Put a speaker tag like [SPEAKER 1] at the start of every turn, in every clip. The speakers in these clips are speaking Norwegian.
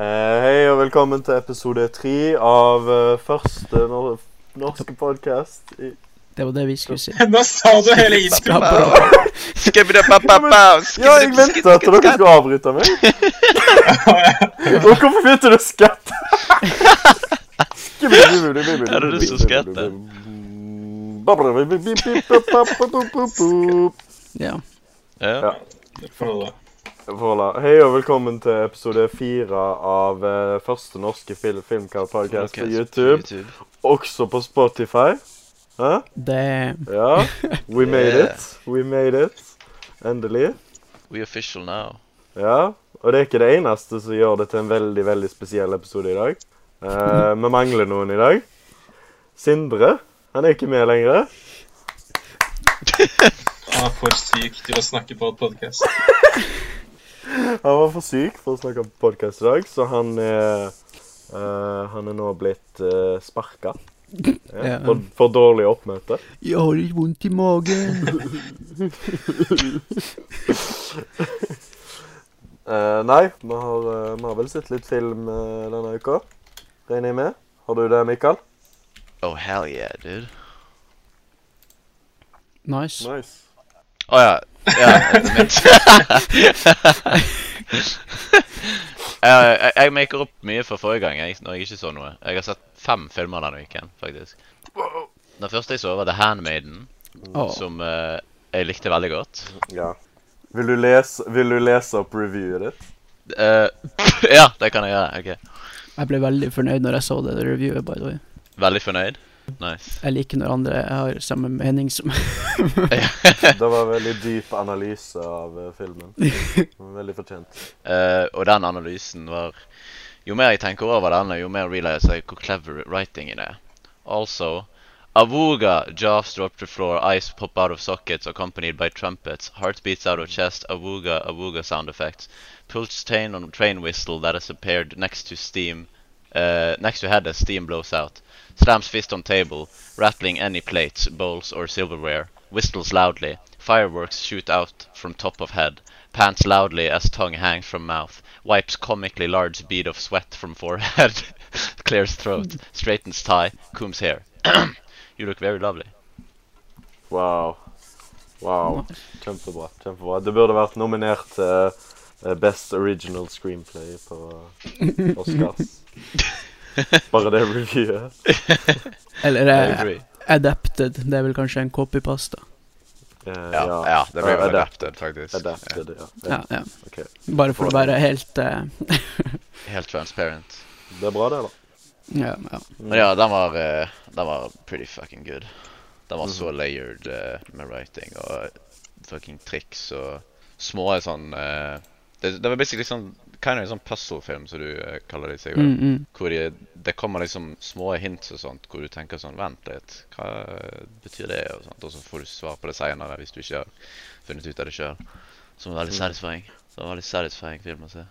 [SPEAKER 1] Eh, hei og velkommen til episode tre av eh, første nor norske podkast. i-
[SPEAKER 2] Det var det vi skulle si.
[SPEAKER 3] Nå sa du hele introen.
[SPEAKER 2] Bra, bra.
[SPEAKER 4] Skubbidubbababab,
[SPEAKER 1] Ja, jeg ventet at dere
[SPEAKER 4] skubbidubbskubbidubb.
[SPEAKER 1] skulle avbryte meg. Og hvorfor begynte du å skatte?
[SPEAKER 4] Hadde du lyst til å skatte?
[SPEAKER 2] Ja.
[SPEAKER 4] Ja.
[SPEAKER 1] Voilà. Hei og velkommen til episode fire av eh, første norske fil filmkart-podkast på
[SPEAKER 4] Ok,
[SPEAKER 1] YouTube. Også på Spotify. Hæ?
[SPEAKER 2] Det
[SPEAKER 1] Ja. We made
[SPEAKER 4] Yeah.
[SPEAKER 1] it. We made it. Endelig.
[SPEAKER 4] We official now.
[SPEAKER 1] Ja, og det er ikke det eneste som gjør det til en veldig veldig spesiell episode i dag. Eh, vi mangler noen i dag. Sindre. Han er ikke med lenger.
[SPEAKER 3] Det er for sykt til å snakke på et podkast.
[SPEAKER 1] Han var for syk for å snakke om podkast i dag, så han er eh, Han er nå blitt uh, sparka. Ja,
[SPEAKER 2] Ja.
[SPEAKER 1] for, for dårlig oppmøte.
[SPEAKER 2] Jeg har litt vondt i magen.
[SPEAKER 1] Eh, nei, vi har, eh, vi har vel sett litt film eh, denne uka, regner jeg med. Har du det, Mikael?
[SPEAKER 4] Oh, hell yeah, dude.
[SPEAKER 2] Nice.
[SPEAKER 1] Nice.
[SPEAKER 4] Å ja. ja det mitt. Eh, jeg, jeg maker opp mye fra forrige gang jeg, når jeg ikke så noe. Jeg har sett fem filmer denne uken, faktisk. Den første jeg så, var The Handmaiden,
[SPEAKER 2] Å,
[SPEAKER 4] som eh, jeg likte veldig godt.
[SPEAKER 1] Ja. Vil du lese, vil du lese opp reviewet ditt?
[SPEAKER 4] Eh, ja, det kan jeg gjøre. ok.
[SPEAKER 2] jeg ble veldig fornøyd når jeg så det reviewet, by the way.
[SPEAKER 4] Veldig fornøyd. Nice.
[SPEAKER 2] Jeg liker når andre har samme mening som meg.
[SPEAKER 1] Det var en veldig dyp analyse av eh, filmen. Veldig fortjent.
[SPEAKER 4] Eh, og den analysen var Jo mer jeg tenker over den, jo mer realiser jeg hvor clever writingen er. Also, Avuga, jaws drop to floor, eyes pop out of sockets accompanied by trumpets, heart beats out of chest, Avuga, Avuga sound effects, pulse chain on train whistle that is appeared next to steam, uh, next to head as steam blows out, slams fist on table, rattling any plates, bowls or silverware, whistles loudly, fireworks shoot out from top of head, pants loudly as tongue hangs from mouth, wipes comically large bead of sweat from forehead, clears throat, straightens tie, combs hair. you look very lovely.
[SPEAKER 1] Wow. Wow. Kjempebra. kjempebra. Det burde vært nominert til eh, Best Original Screenplay på eh, Oscars. Bare det reviewet.
[SPEAKER 2] Eller
[SPEAKER 4] I
[SPEAKER 2] eh,
[SPEAKER 4] agree.
[SPEAKER 2] adapted. Det er vel kanskje en copypasta.
[SPEAKER 1] Eh,
[SPEAKER 4] Ja, ja, det blir
[SPEAKER 1] Eh,
[SPEAKER 4] vel
[SPEAKER 1] adap-
[SPEAKER 4] adapted, faktisk.
[SPEAKER 1] Adapted, ja.
[SPEAKER 2] Ja, ja.
[SPEAKER 1] Ok.
[SPEAKER 2] Bare for å være helt eh,
[SPEAKER 4] Ja, Helt transparent.
[SPEAKER 1] Det er bra, det, Mm. da.
[SPEAKER 2] Ja, ja.
[SPEAKER 4] Men ja, den var, eh, den var pretty fucking good. Den var så layered eh, med writing og fucking triks og små sånn eh, det, det var basically sånn kind of en sånn puzzle-film, som du eh, kaller det, Sigurd.
[SPEAKER 2] Mm, mm.
[SPEAKER 4] Hvor de, det kommer liksom små hints og sånt, hvor du tenker sånn Vent litt, hva betyr det? Og sånt, og så får du svar på det seinere hvis du ikke har funnet ut av det sjøl. Som
[SPEAKER 1] Mm.
[SPEAKER 4] er veldig satisfying. Det var veldig satisfying film å se.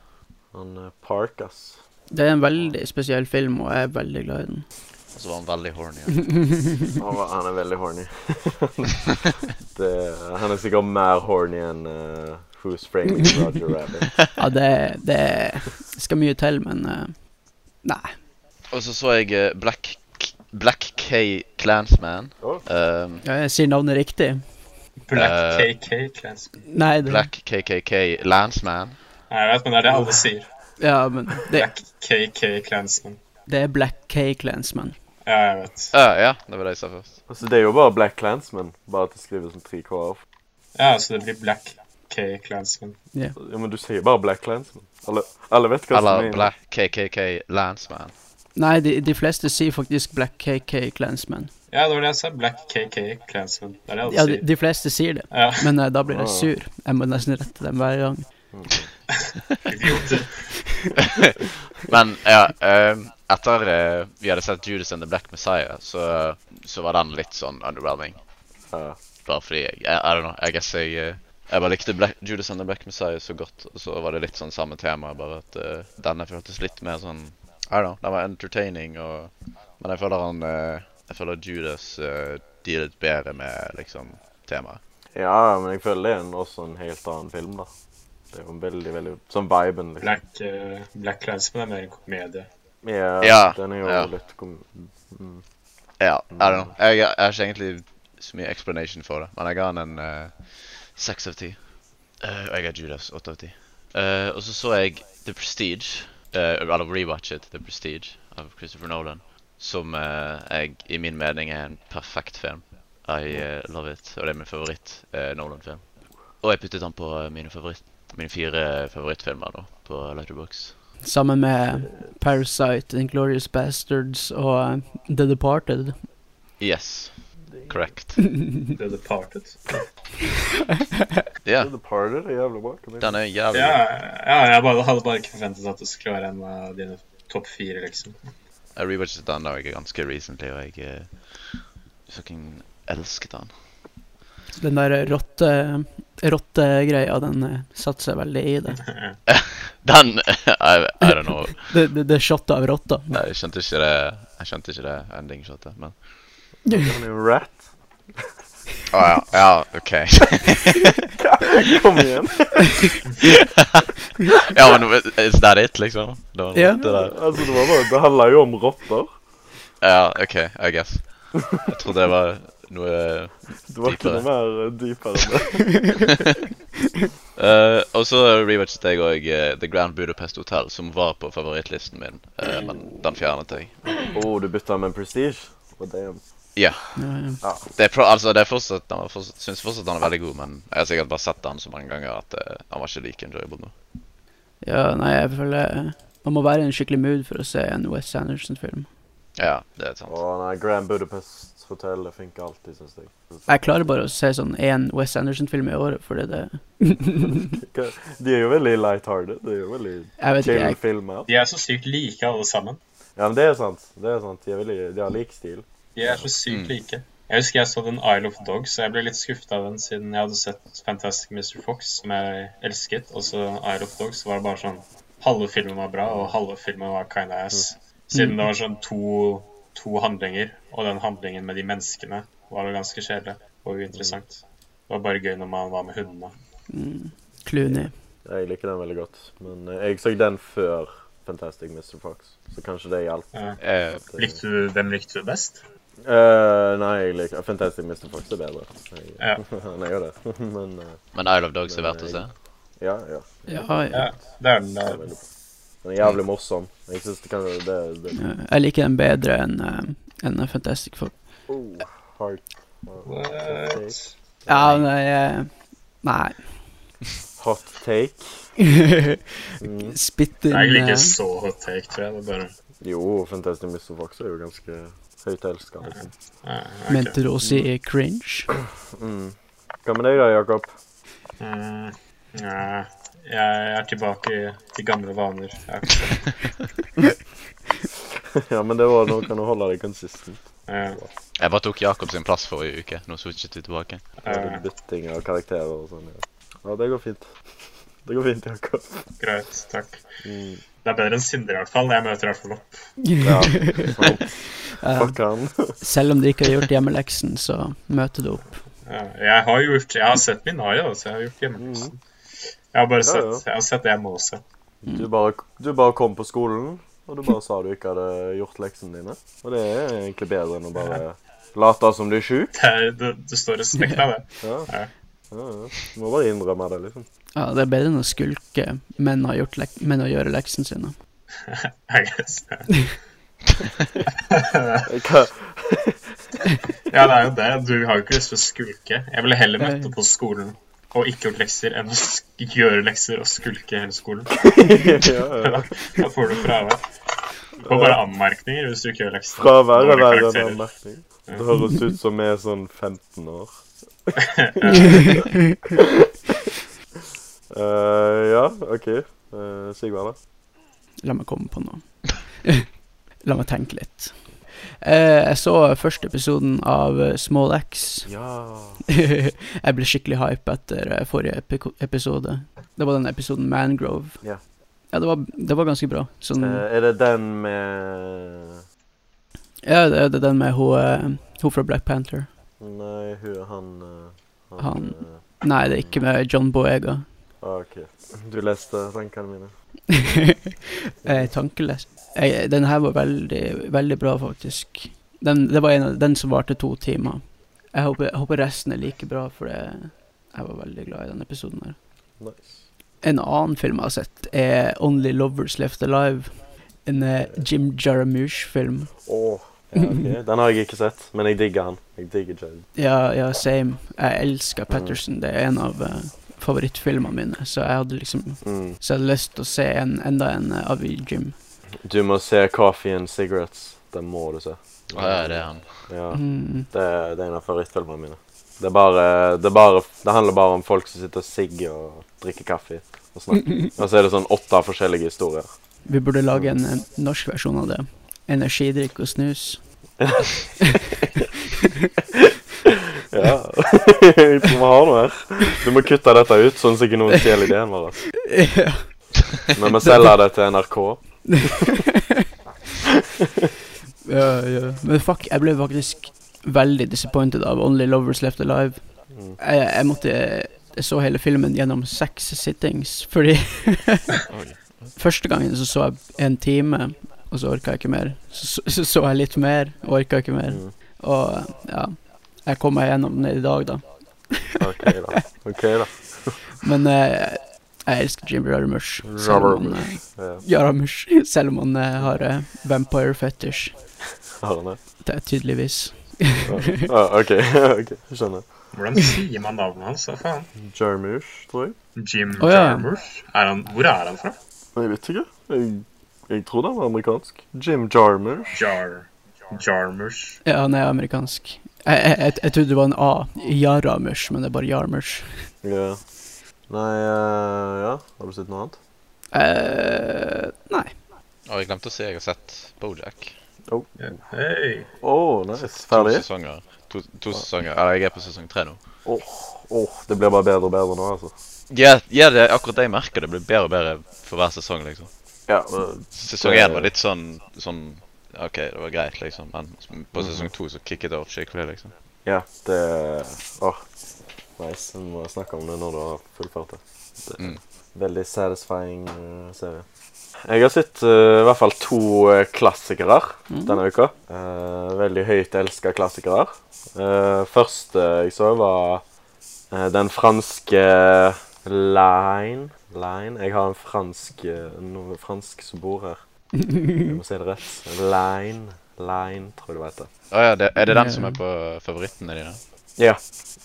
[SPEAKER 1] Han eh, Park, ass.
[SPEAKER 2] Det er en veldig spesiell film, og jeg er veldig glad i den.
[SPEAKER 4] Og så var han veldig horny.
[SPEAKER 1] Han, var, han er veldig horny. det, han er sikkert mer horny enn eh, Who's Framing Roger Rabbit.
[SPEAKER 2] Ja, det, det skal mye til, men eh, Nei.
[SPEAKER 4] Og så så jeg eh, Black K- Black K Clansman.
[SPEAKER 1] Å.
[SPEAKER 4] Um,
[SPEAKER 2] Ja, jeg sier navnet riktig.
[SPEAKER 4] Eh.
[SPEAKER 3] Black KK Clansman.
[SPEAKER 2] Nei, det,
[SPEAKER 4] Black KKK Landsman.
[SPEAKER 3] Nei, jeg vet, men det er det alle sier.
[SPEAKER 2] ja, men det,
[SPEAKER 3] Black KK Clansman.
[SPEAKER 2] det er Black K Clansman.
[SPEAKER 3] Ja, jeg vet.
[SPEAKER 4] Uh, ja, det var det jeg sa først.
[SPEAKER 1] Altså, det er jo bare Black Clansman, bare at det skrives som 3K-er.
[SPEAKER 3] Ja, så det blir Black K Clansman.
[SPEAKER 1] Ja, men du sier bare Black Clansman. Alle, alle vet hva som
[SPEAKER 4] Eller
[SPEAKER 1] er
[SPEAKER 4] Black KKK Landsman.
[SPEAKER 2] Nei, de, de fleste sier faktisk Black KK Clansman.
[SPEAKER 3] Ja, det var det jeg sa. Black KK Clansman. Det er det alle
[SPEAKER 2] Ja, de,
[SPEAKER 3] sier.
[SPEAKER 2] de fleste sier det,
[SPEAKER 3] Ja,
[SPEAKER 2] men eh, da blir jeg sur. Jeg må nesten rette dem hver gang.
[SPEAKER 3] idioter.
[SPEAKER 4] Men ja, ehm, etter eh, vi hadde sett Judas and the Black Messiah, så, så var den litt sånn underwhelming.
[SPEAKER 1] Ja.
[SPEAKER 4] Bare fordi jeg I, I don't know, I guess jeg eh, Jeg bare likte Black, Judas and the Black Messiah så godt, og så var det litt sånn samme tema, bare at eh, denne føltes litt mer sånn I don't know, den var entertaining og Men jeg føler han eh, Jeg føler Judas eh, dealet bedre med liksom temaet.
[SPEAKER 1] Ja, men jeg føler det er en, også en helt annen film, da. Det er jo en veldig, veldig Sånn viben, liksom.
[SPEAKER 3] Black, eh, Black Clansman er mer en komedie.
[SPEAKER 1] Ja,
[SPEAKER 4] Ja,
[SPEAKER 1] den er jo
[SPEAKER 4] ja.
[SPEAKER 1] litt kom... mm.
[SPEAKER 4] Ja, I don't know. Jeg, jeg har ikke egentlig så mye explanation for det, men jeg ga den en eh, seks av ti. Eh, og jeg ga Judas åtte av ti. Eh, og så så jeg The Prestige, eh, eller rewatchet The Prestige av Christopher Nolan, som eh, jeg i min mening er en perfekt film. I eh, love it, og det er min favoritt eh, Nolan-film. Og jeg puttet den på eh, mine favoritt, mine fire favorittfilmer da, på Letterboxd.
[SPEAKER 2] Sammen med Parasite, Inglorious Bastards og eh, The Departed.
[SPEAKER 4] Yes, correct.
[SPEAKER 3] The Departed.
[SPEAKER 4] Ja,
[SPEAKER 1] The Party er jævlig bra. kom igjen.
[SPEAKER 4] den er jævlig
[SPEAKER 3] Ja, ja jeg bare, hadde bare ikke forventet at det skulle være en av dine topp fire, liksom.
[SPEAKER 4] Jeg rewatchet den da jeg ganske recently, og jeg eh, fucking elsket den.
[SPEAKER 2] Så Den der rotte- rottegreia, den eh, satte seg veldig i det.
[SPEAKER 4] Den I, I don't know.
[SPEAKER 2] Det, det, det shotet av rotta.
[SPEAKER 4] Jeg skjønte ikke det Jeg skjønte ikke det ending-shotet, men
[SPEAKER 1] Han er jo en rat.
[SPEAKER 4] Å ja. Ja, OK.
[SPEAKER 1] Kom igjen.
[SPEAKER 4] ja, men is that it, liksom? Det var
[SPEAKER 2] Ja.
[SPEAKER 4] det der.
[SPEAKER 1] altså, det, var bare, det handler jo om rotter.
[SPEAKER 4] Ja, OK, I guess. Jeg trodde det var noe
[SPEAKER 1] Det var ikke
[SPEAKER 4] Dypere.
[SPEAKER 1] noe mer eh, dypere enn det.
[SPEAKER 4] Eh, Og så rewatchet jeg òg The Grand Budapest Hotel, som var på favorittlisten min, eh, men den fjernet jeg.
[SPEAKER 1] Å, Oh, du bytta med en prestige? Og det er
[SPEAKER 2] Ja, ja.
[SPEAKER 4] Det er, pro altså, det er fortsatt, den var fortsatt, synes fortsatt han er veldig god, men jeg har sikkert bare sett han så mange ganger at eh, han var ikke like enjoyable nå.
[SPEAKER 2] ja, nei, jeg føler eh, Man må være i en skikkelig mood for å se en Wes Anderson-film.
[SPEAKER 4] Ja, det er sant.
[SPEAKER 1] Å nei, Grand Budapest Hotel det funker alltid, syns jeg.
[SPEAKER 2] Jeg klarer bare å se sånn én Wes Anderson-film i året, fordi det
[SPEAKER 1] De er jo veldig light-hearted. De er jo veldig
[SPEAKER 2] Jeg vet ikke,
[SPEAKER 1] chill
[SPEAKER 2] jeg
[SPEAKER 1] filmer.
[SPEAKER 3] De er så sykt like, alle sammen.
[SPEAKER 1] Ja, men det er sant. Det er sant. De, er veldig, de har lik stil.
[SPEAKER 3] De er så sykt
[SPEAKER 4] Mm.
[SPEAKER 3] like. Jeg husker jeg så den Isle of Dogs, og jeg ble litt skuffet av den siden jeg hadde sett Fantastic Mr. Fox, som jeg elsket, og så Isle of Dogs var det bare sånn Halve filmen var bra, og halve filmen var kinda ass. Siden det var sånn to, to handlinger, og den handlingen med de menneskene var jo ganske kjedelig og uinteressant. Det var bare gøy når man var med hundene.
[SPEAKER 2] mm, Clooney.
[SPEAKER 1] Jeg liker den veldig godt. Men eh, jeg så den før Fantastic Mr. Fox, så kanskje det hjalp.
[SPEAKER 4] Eh,
[SPEAKER 1] at, eh,
[SPEAKER 3] Likte du, hvem likte du best?
[SPEAKER 1] eh, nei, jeg liker Fantastic Mr. Fox er bedre. Jeg,
[SPEAKER 3] Ja.
[SPEAKER 1] Han er jo det. Men eh,
[SPEAKER 4] men Isle of Dogs er verdt å se.
[SPEAKER 1] ja, ja.
[SPEAKER 2] Ja, ja.
[SPEAKER 3] Ja, det er den
[SPEAKER 1] Den er
[SPEAKER 3] der.
[SPEAKER 1] veldig bra. Den er jævlig morsom. Jeg syns det kan Det, det
[SPEAKER 2] Ja, Jeg liker den bedre enn eh, enn Fantastic Four.
[SPEAKER 1] oh, hard.
[SPEAKER 3] What?
[SPEAKER 2] Ja, nei eh, Nei.
[SPEAKER 1] Hot take. Mm.
[SPEAKER 2] Spytt inn
[SPEAKER 3] Det er egentlig
[SPEAKER 2] eh,
[SPEAKER 3] ikke så hot take, tror jeg. Det er bare...
[SPEAKER 1] Jo, Fantastic Mr. Fox er jo ganske høyt elska, liksom.
[SPEAKER 3] Ja, ok.
[SPEAKER 2] Mente du å si cringe?
[SPEAKER 1] Mm. Hva med deg da, Jakob?
[SPEAKER 3] Mm, nei, jeg er tilbake til gamle vaner. Jeg er ikke-
[SPEAKER 1] ja, men det var noe kan du holde deg consistent.
[SPEAKER 3] eh,
[SPEAKER 4] Jeg bare tok Jakob sin plass forrige uke. Nå switchet vi tilbake.
[SPEAKER 1] Både
[SPEAKER 3] eh,
[SPEAKER 1] Bytting av karakterer og sånn. Ja. ja, det går fint. Det går fint, Jakob.
[SPEAKER 3] eh, Greit, takk.
[SPEAKER 1] Mm.
[SPEAKER 3] Det er bedre enn Sindre, i hvert fall. Jeg møter i hvert fall opp.
[SPEAKER 1] Ja, sant.
[SPEAKER 2] Eh,
[SPEAKER 1] Fuck han.
[SPEAKER 2] selv om du ikke har gjort hjemmeleksen, så møter du opp.
[SPEAKER 3] Eh, Jeg har gjort, jeg har sett min Aya, så jeg har gjort
[SPEAKER 1] Mm.
[SPEAKER 3] hjemmeleksen. Jeg har bare
[SPEAKER 1] Ja, ja.
[SPEAKER 3] sett, jeg har sett det jeg må se.
[SPEAKER 1] Du bare, du bare kom på skolen, og du bare sa du ikke hadde gjort leksene dine. Og det er egentlig bedre enn å bare late som du er sjuk.
[SPEAKER 3] Det, er, det, det står respekt av det.
[SPEAKER 1] Ja.
[SPEAKER 3] Ja.
[SPEAKER 1] Ja, ja. Du må bare innrømme det, liksom.
[SPEAKER 2] Ja, Det er bedre enn å skulke, men å, ha gjort lek men å gjøre leksene sine.
[SPEAKER 3] I guess.
[SPEAKER 1] Hva?
[SPEAKER 3] Ja, det er jo det. Du har jo ikke lyst til å skulke. Jeg ville heller møtt opp på skolen og ikke gjort lekser enn å sk gjøre lekser og skulke hele skolen.
[SPEAKER 1] ja, ja.
[SPEAKER 3] Da får du fravær. Du får bare anmerkninger hvis du ikke gjør lekser.
[SPEAKER 1] Fravær er
[SPEAKER 3] Dårlige
[SPEAKER 1] verre enn
[SPEAKER 3] karakterer.
[SPEAKER 1] anmerkning. Det høres ut som vi er sånn 15 år. Eh, ja, OK. Eh, Sigvard, da?
[SPEAKER 2] La meg komme på noe. La meg tenke litt. Eh, jeg så første episoden av eh, Small X.
[SPEAKER 1] Ja.
[SPEAKER 2] jeg ble skikkelig hype etter eh, forrige epi- episode. Det var den episoden Mangrove.
[SPEAKER 1] Ja. Eh.
[SPEAKER 2] Ja, det var, det var ganske bra. Sånn,
[SPEAKER 1] er det den med
[SPEAKER 2] ja, det, det er den med hun, eh, hun fra Black Panther.
[SPEAKER 1] Nei, hun han eh,
[SPEAKER 2] Han.
[SPEAKER 1] eh,
[SPEAKER 2] Nei, det er ikke med John Boyega.
[SPEAKER 1] Ah, OK. Du leste tankene mine.
[SPEAKER 2] eh, tankeløs. Eh, den her var veldig, veldig bra, faktisk. Den, det var en av, den som varte to timer. Jeg håper, jeg håper resten er like bra, for det, jeg var veldig glad i denne episoden. her.
[SPEAKER 1] Nice.
[SPEAKER 2] En annen film jeg har sett, er Only Lovers Left Alive. En eh, Jim Jarmusch-film.
[SPEAKER 1] Åh, ja, ok. Den har jeg ikke sett, men jeg digger han. Jeg digger Jed.
[SPEAKER 2] Ja, ja, same. Jeg elsker Patterson. Det er en av eh, favorittfilmene mine, så jeg hadde liksom
[SPEAKER 1] Mm.
[SPEAKER 2] Så jeg hadde lyst til å se en, enda en eh, av Jim.
[SPEAKER 1] Du må se Coffee and Cigarettes. Den må du se.
[SPEAKER 4] Å ja, det er han.
[SPEAKER 1] Ja,
[SPEAKER 2] Mm.
[SPEAKER 1] det, er- eh, det er en av favorittfilmene mine. Det, er bare, det, er bare, det handler bare om folk som sitter og sigger og drikker kaffe og snakker. Og så er det sånn åtte forskjellige historier.
[SPEAKER 2] Vi burde lage en eh, norsk versjon av det. Energidrikk og snus.
[SPEAKER 1] Ja. Vi har noe her. Du må kutte dette ut, sånn at ikke noen stjeler ideen vår. altså.
[SPEAKER 2] Ja.
[SPEAKER 1] Men vi selger det til NRK.
[SPEAKER 2] ja, ja. Men fuck, jeg ble faktisk veldig disappointed av Only Lovers Left Alive.
[SPEAKER 1] Mm.
[SPEAKER 2] Jeg, jeg måtte Jeg så hele filmen gjennom seks sittings, fordi
[SPEAKER 4] Oi.
[SPEAKER 2] Første gangen så så jeg en time, og så orka jeg ikke mer. Så så, så, så jeg litt mer, og orka ikke mer.
[SPEAKER 1] Mm.
[SPEAKER 2] Og ja, jeg kom meg gjennom den i dag, da.
[SPEAKER 1] OK, da. Ok da.
[SPEAKER 2] Men eh, jeg elsker Jim Jarmusch. selv om han, eh,
[SPEAKER 1] Ja,
[SPEAKER 2] Jarmusch. Selv om han eh, har eh, vampire fetish.
[SPEAKER 1] har han det?
[SPEAKER 2] Det er tydeligvis.
[SPEAKER 1] Ja, ah, OK. ok, Skjønner.
[SPEAKER 3] Hvordan sier man navnet hans? Hva faen?
[SPEAKER 1] Jarmusch, tror jeg.
[SPEAKER 3] Jim
[SPEAKER 2] Å, ja.
[SPEAKER 3] Jarmusch? Er han, hvor er han fra?
[SPEAKER 1] Jeg vet ikke. Jeg, jeg tror den var amerikansk. Jim Jarmusch.
[SPEAKER 3] Jar... Jarmusch.
[SPEAKER 2] Ja, han er amerikansk. Jeg, jeg, jeg, jeg trodde det var en A. Jarmusch, men det er bare Jarmusch.
[SPEAKER 1] Ja. Nei eh, Ja, har du sett noe annet?
[SPEAKER 2] Eh, nei.
[SPEAKER 4] Å, jeg glemte å si jeg har sett Bojack.
[SPEAKER 3] Hei!
[SPEAKER 1] Å, nice. Ferdig?
[SPEAKER 4] To sesonger. To, to sesonger. Eller jeg er på sesong tre nå.
[SPEAKER 1] Åh, det blir bare bedre og bedre nå, altså.
[SPEAKER 4] Ja, ja, det er akkurat det jeg merker. Det blir bedre og bedre for hver sesong, liksom.
[SPEAKER 1] Ja, eh,
[SPEAKER 4] Sesong én var litt sånn, sånn OK, det var greit, liksom. Men på sesong to så kicket det opp skikkelig, liksom.
[SPEAKER 1] ja det Åh, nice. Vi må snakke om det når du har fullført det. det er
[SPEAKER 4] Mm.
[SPEAKER 1] Veldig satisfying eh, serie. Jeg har sett eh, i hvert fall to eh, klassikere denne uka. Eh, veldig høyt elska klassikere. Uh, første jeg så, var eh, den franske Line Line Jeg har en fransk eh, noe fransk som bor her. Jeg må si det rett. Line Line, tror jeg det heter.
[SPEAKER 4] Å ja, det, er det den
[SPEAKER 2] Ja.
[SPEAKER 4] som er på favorittene dine?
[SPEAKER 1] Ja.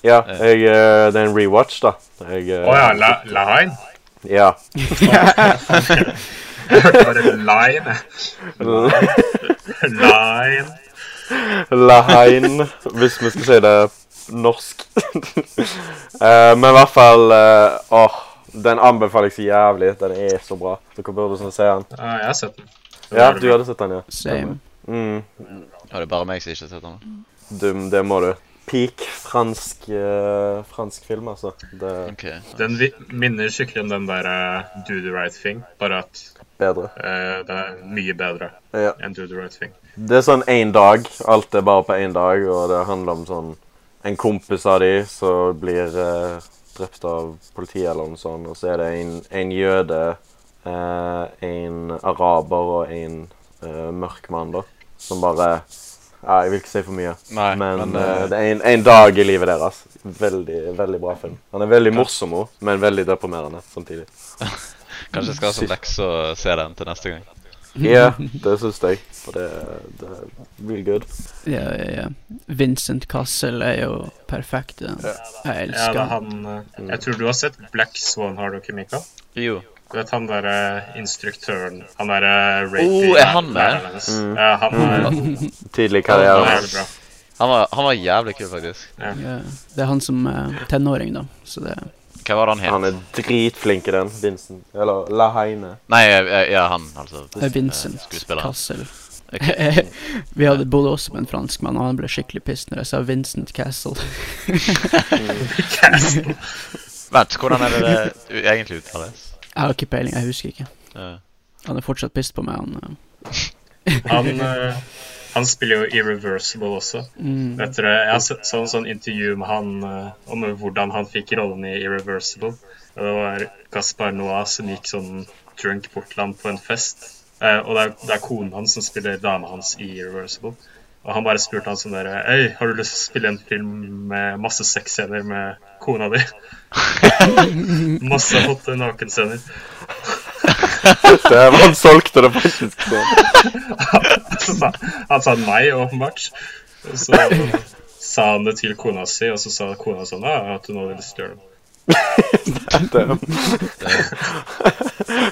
[SPEAKER 1] ja
[SPEAKER 4] Eh.
[SPEAKER 1] jeg, eh, det er en rewatch, da. Jeg, eh,
[SPEAKER 3] Å ja, La Line?
[SPEAKER 1] ja.
[SPEAKER 3] Bare Line. Line.
[SPEAKER 1] Lahein, hvis vi skal si det norsk. Eh, men i hvert fall eh, Åh, den anbefaler jeg så jævlig. Den er så bra. Dere burde sånn se den.
[SPEAKER 3] Ja, jeg har sett den.
[SPEAKER 1] Ja, du hadde sett den, ja.
[SPEAKER 2] Same.
[SPEAKER 1] Mm,
[SPEAKER 4] Ja, det er bare meg som ikke har sett den.
[SPEAKER 1] du, det må du. Peak fransk, eh, fransk film, altså. Det er
[SPEAKER 4] OK.
[SPEAKER 3] Den vi- minner skikkelig om den der eh, Do the Right Thing, bare at
[SPEAKER 1] bedre.
[SPEAKER 3] eh, den er mye bedre
[SPEAKER 1] Ja.
[SPEAKER 3] enn Do the Right Thing.
[SPEAKER 1] Det er sånn én dag. Alt er bare på én dag, og det handler om sånn En kompis av de som blir eh, drept av politiet eller noe sånt, og så er det en, en jøde, eh, en araber og en eh, mørk mann, da, som bare ja, Jeg vil ikke si for mye,
[SPEAKER 4] Nei,
[SPEAKER 1] men, eh,
[SPEAKER 4] eh,
[SPEAKER 1] det er en, en dag i livet deres. Veldig veldig bra film. Han er veldig morsom òg, men veldig deprimerende samtidig.
[SPEAKER 4] kanskje jeg skal ha som lekse å se den til neste gang.
[SPEAKER 1] Ja, det syns jeg. For det, det er real good.
[SPEAKER 2] Ja, ja, ja. Vincent Cassel er jo perfekt. i den. Jeg
[SPEAKER 3] Ja,
[SPEAKER 2] elsker
[SPEAKER 3] det er
[SPEAKER 2] han.
[SPEAKER 3] han eh, Jeg tror du har sett Black Swan, har du ikke, Mikael?
[SPEAKER 4] Jo.
[SPEAKER 3] Du vet han derre instruktøren Han eh, derre
[SPEAKER 4] Oh, er han med? Mm.
[SPEAKER 3] hennes. Ja, han er,
[SPEAKER 1] Tidlig
[SPEAKER 3] han
[SPEAKER 1] karriere.
[SPEAKER 3] er jævlig bra.
[SPEAKER 4] Han var, han var jævlig kul, faktisk.
[SPEAKER 2] Ja, det er han som er tenåring, da. Så det
[SPEAKER 4] Hva var det han het?
[SPEAKER 1] Han er dritflink i den, Vincent. Eller Laheine.
[SPEAKER 4] Nei, eh, ja, han, altså.
[SPEAKER 2] er Vincent
[SPEAKER 4] Skuespilleren.
[SPEAKER 2] Cassel.
[SPEAKER 4] Ok.
[SPEAKER 2] Vi hadde bodde også med en franskmann, og han ble skikkelig piss når jeg sa Vincent Castle.
[SPEAKER 4] Vent, hvordan er det det u- egentlig uttales?
[SPEAKER 2] Jeg har ikke peiling, jeg husker ikke.
[SPEAKER 4] Eh,
[SPEAKER 2] Han er fortsatt pissed på meg, han. eh.
[SPEAKER 3] Han eh, Han spiller jo Irreversible også.
[SPEAKER 2] Mm.
[SPEAKER 3] Vet dere, Jeg har sett sånn, sånn intervju med han eh, om hvordan han fikk rollen i Irreversible. Og Det var Gaspar Noah som gikk sånn drunk bort til ham på en fest. Eh, og det er, det er konen hans som spiller dama hans i Irreversible. Og han bare spurte han sånn derre Hei, har du lyst til å spille en film med masse sexscener med kona di? masse hotte nakenscener.
[SPEAKER 1] Dæven, han solgte det faktisk sånn.
[SPEAKER 3] Så sa, han sa nei, åpenbart. Og så sa han det til kona si, og så sa kona sånn ja, at hun hadde lyst til å gjøre det.
[SPEAKER 1] Dæven.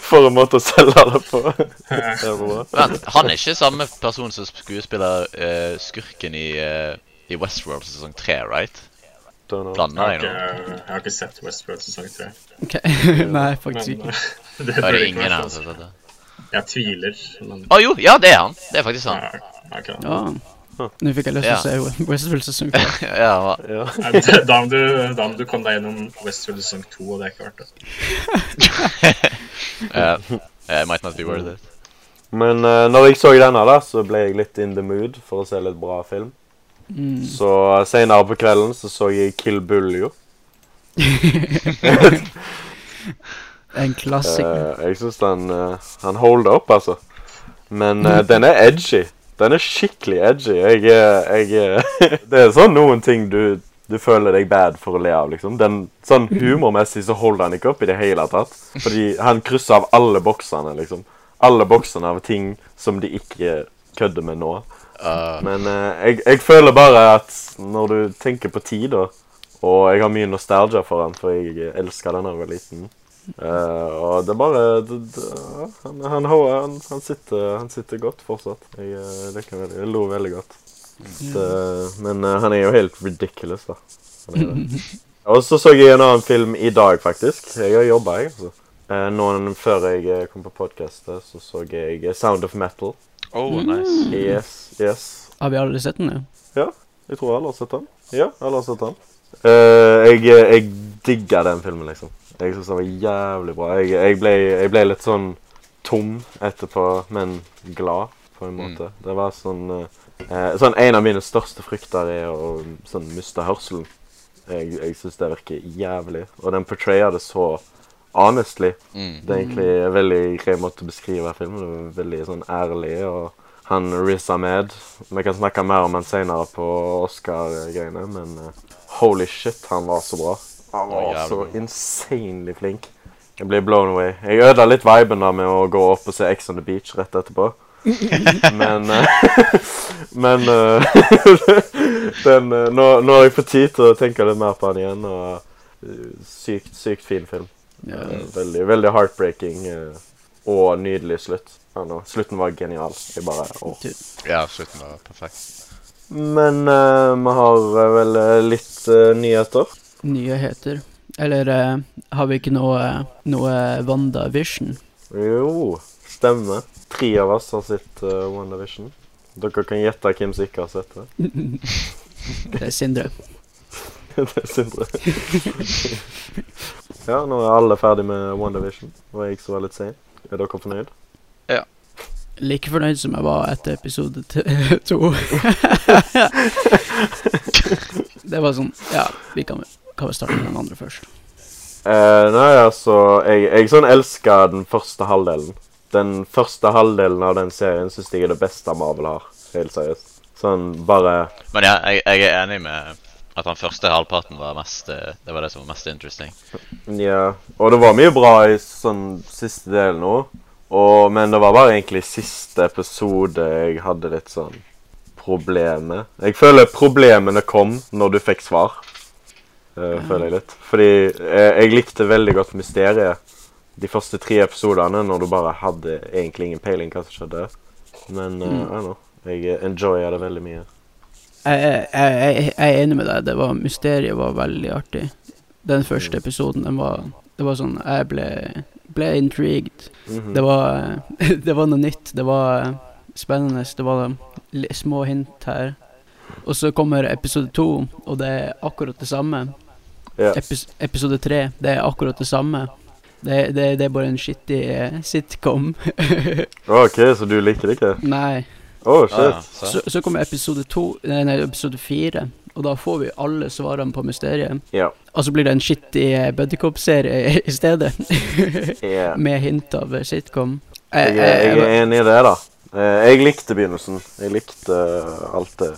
[SPEAKER 1] For en måte å selge det på. Det er bra.
[SPEAKER 4] Vent, han er ikke samme person som skuespiller eh, skurken i, eh, i Westworld sesong 3, right?
[SPEAKER 1] Don't know.
[SPEAKER 4] Blander jeg
[SPEAKER 3] Jeg
[SPEAKER 4] nå?
[SPEAKER 3] har ikke, jeg har ikke sett Westworld sesong 3.
[SPEAKER 2] Ok, Nei, faktisk
[SPEAKER 3] Men
[SPEAKER 2] ikke.
[SPEAKER 3] det
[SPEAKER 4] Da
[SPEAKER 3] burde
[SPEAKER 4] Er det
[SPEAKER 3] ikke
[SPEAKER 4] ingen
[SPEAKER 3] være
[SPEAKER 4] her
[SPEAKER 3] sånn.
[SPEAKER 4] som har sett det?
[SPEAKER 3] Jeg tviler, men
[SPEAKER 4] Å jo, ja, det er han. Det er faktisk han.
[SPEAKER 3] Nei, ok.
[SPEAKER 2] Ja. Nå fikk jeg lyst til
[SPEAKER 4] Ja.
[SPEAKER 2] å se Westfield sesong 2.
[SPEAKER 4] ja, hva-
[SPEAKER 1] Ja.
[SPEAKER 3] Nei, det- Da må du, da må du komme deg gjennom Westworld sesong 2, og det er ikke verdt det.
[SPEAKER 4] Eh, eh, might not be worth it.
[SPEAKER 1] Men eh, når jeg så denne, da, så ble jeg litt in the mood for å se litt bra film.
[SPEAKER 2] Mm.
[SPEAKER 1] Så eh, senere på kvelden så så jeg Kill Bull, jo.
[SPEAKER 2] En klassiker.
[SPEAKER 1] Eh, jeg syns den, eh, han holder opp, altså. Men eh, den er edgy. Den er skikkelig edgy. Jeg, eh, jeg, eh, det er sånn noen ting du, du føler deg bad for å le av, liksom. Den, sånn humormessig så holder han ikke opp i det hele tatt. Fordi han krysser av alle boksene, liksom. Alle boksene av ting som de ikke kødder med nå.
[SPEAKER 4] Eh,
[SPEAKER 1] Men eh, jeg, jeg føler bare at når du tenker på tid, da Og jeg har mye nostalgia for han, for jeg elsker den da jeg var liten. eh, og det er bare det, det, han, han, han, han, sitter, han sitter godt fortsatt. Jeg, eh, liker veldig, jeg lo veldig godt. Så, men eh, han er jo helt ridiculous, da. Han er det. Og så så jeg en annen film i dag, faktisk. Jeg har jobba, jeg. Altså. Eh, Noen før jeg eh, kom på podkastet, så så jeg eh, Sound of Metal.
[SPEAKER 4] oh, nice.
[SPEAKER 1] Yes, yes.
[SPEAKER 2] Har vi aldri sett den, jo?
[SPEAKER 1] Jeg tror alle har sett den. Ja, alle har sett den. Eh, jeg, jeg digger den filmen, liksom. Jeg syns den var jævlig bra. Jeg, jeg, ble, jeg ble litt sånn tom etterpå, men glad, på en måte. Det var sånn eh, Sånn En av mine største frykter er å sånn, miste hørselen. Jeg, jeg syns det virker jævlig. Og den portrayer det så honestly.
[SPEAKER 4] Mm.
[SPEAKER 1] Det er egentlig en veldig grei måte å beskrive filmen Det er veldig sånn ærlig. Og han Riz Ahmed Vi kan snakke mer om han senere på Oscar-greiene, men eh, holy shit, han var så bra. Han
[SPEAKER 4] var
[SPEAKER 1] var
[SPEAKER 4] jævlig
[SPEAKER 1] så
[SPEAKER 4] bra.
[SPEAKER 1] insanely flink. Jeg ble blown away. Jeg ødela litt viben da med å gå opp og se X on the Beach rett etterpå. Men eh, Men eh, den, eh, nå, nå har jeg fått tid til å tenke litt mer på han igjen. Og eh, sykt, sykt fin film.
[SPEAKER 2] Ja.
[SPEAKER 1] Eh, Veldig, veldig heartbreaking eh, og nydelig slutt. Ja, nå, slutten var genial. Jeg bare, åh.
[SPEAKER 4] Ja, slutten var perfekt.
[SPEAKER 1] Men eh, vi har eh, vel eh, litt eh, nyheter.
[SPEAKER 2] Nyheter. Eller eh, har vi ikke noe, eh, noe WandaVision?
[SPEAKER 1] Jo, stemmer. Tre av oss har sett eh, WandaVision. Dere kan gjette hvem som ikke har sett det.
[SPEAKER 2] Det er Sindre.
[SPEAKER 1] det er Sindre. ja, nå er alle ferdig med WandaVision. Det var jeg som var litt sein. Er dere fornøyd?
[SPEAKER 2] Like fornøyd som jeg var etter episode t- to. det var sånn Ja, vi kan, kan vi starte med den andre først.
[SPEAKER 1] Eh, nei, altså Jeg, jeg sånn elsker den første halvdelen. Den første halvdelen av den serien syns jeg er det beste Marvel har. Helt seriøst. Sånn bare
[SPEAKER 4] Men ja, jeg, jeg er enig med at den første halvparten var mest eh, Det var det som var mest interesting.
[SPEAKER 1] Ja. Og det var mye bra i sånn siste del nå. Og, men det var bare egentlig siste episode jeg hadde litt sånn problemer. Jeg føler problemene kom når du fikk svar. Eh, Føler jeg litt. Fordi eh, jeg likte veldig godt mysteriet de første tre episodene, når du bare hadde egentlig ingen peiling hva som skjedde. Men eh, I don't know. Jeg eh, enjoyer det veldig mye.
[SPEAKER 2] Jeg, jeg, jeg, jeg er enig med deg. Det var Mysteriet var veldig artig. Den første episoden, den var Det var sånn Jeg ble, ble intrigued.
[SPEAKER 1] Mhm.
[SPEAKER 2] Det var Det var noe nytt. Det var eh, spennende. Det var li- små hint her. Og så kommer episode to, og det er akkurat det samme.
[SPEAKER 1] Ja.
[SPEAKER 2] Epis episode tre, det er akkurat det samme. Det, det, det er bare en skittig eh, sitcom.
[SPEAKER 1] OK, så du liker det ikke?
[SPEAKER 2] Nei.
[SPEAKER 1] Oh, shit.
[SPEAKER 4] Ah,
[SPEAKER 2] Så,
[SPEAKER 4] så.
[SPEAKER 2] så kommer episode to eh, Nei, nei, episode fire, og da får vi alle svarene på mysteriet.
[SPEAKER 1] Ja.
[SPEAKER 2] Og så blir det en shitty eh, buddycop-serie i stedet.
[SPEAKER 1] Yeah.
[SPEAKER 2] Med hint av eh, sitcom.
[SPEAKER 1] Jeg,
[SPEAKER 4] Eh,
[SPEAKER 1] er- jeg er enig i det, da. Eh, Jeg likte begynnelsen. Jeg likte eh, alt det.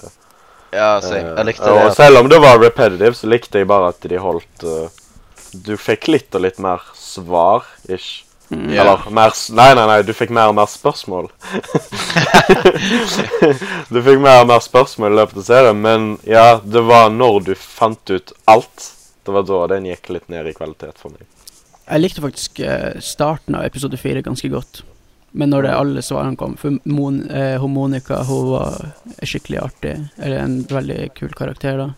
[SPEAKER 4] Ja, så jeg, jeg likte
[SPEAKER 1] Eh,
[SPEAKER 4] det.
[SPEAKER 1] Og selv om det var repetitive, så likte jeg bare at de holdt eh, Du fikk litt og litt mer svar, ish.
[SPEAKER 4] Ja.
[SPEAKER 1] Eller mer s- Nei, nei, nei, du fikk mer og mer spørsmål. du fikk mer og mer spørsmål i løpet av serien, men ja, det var når du fant ut alt. Det var da den gikk litt ned i kvalitet for meg.
[SPEAKER 2] Jeg likte faktisk eh, starten av episode fire ganske godt. Men når det alle svarene kom For Mon, eh, hun Monica hun var skikkelig artig. Eller en veldig kul karakter, da.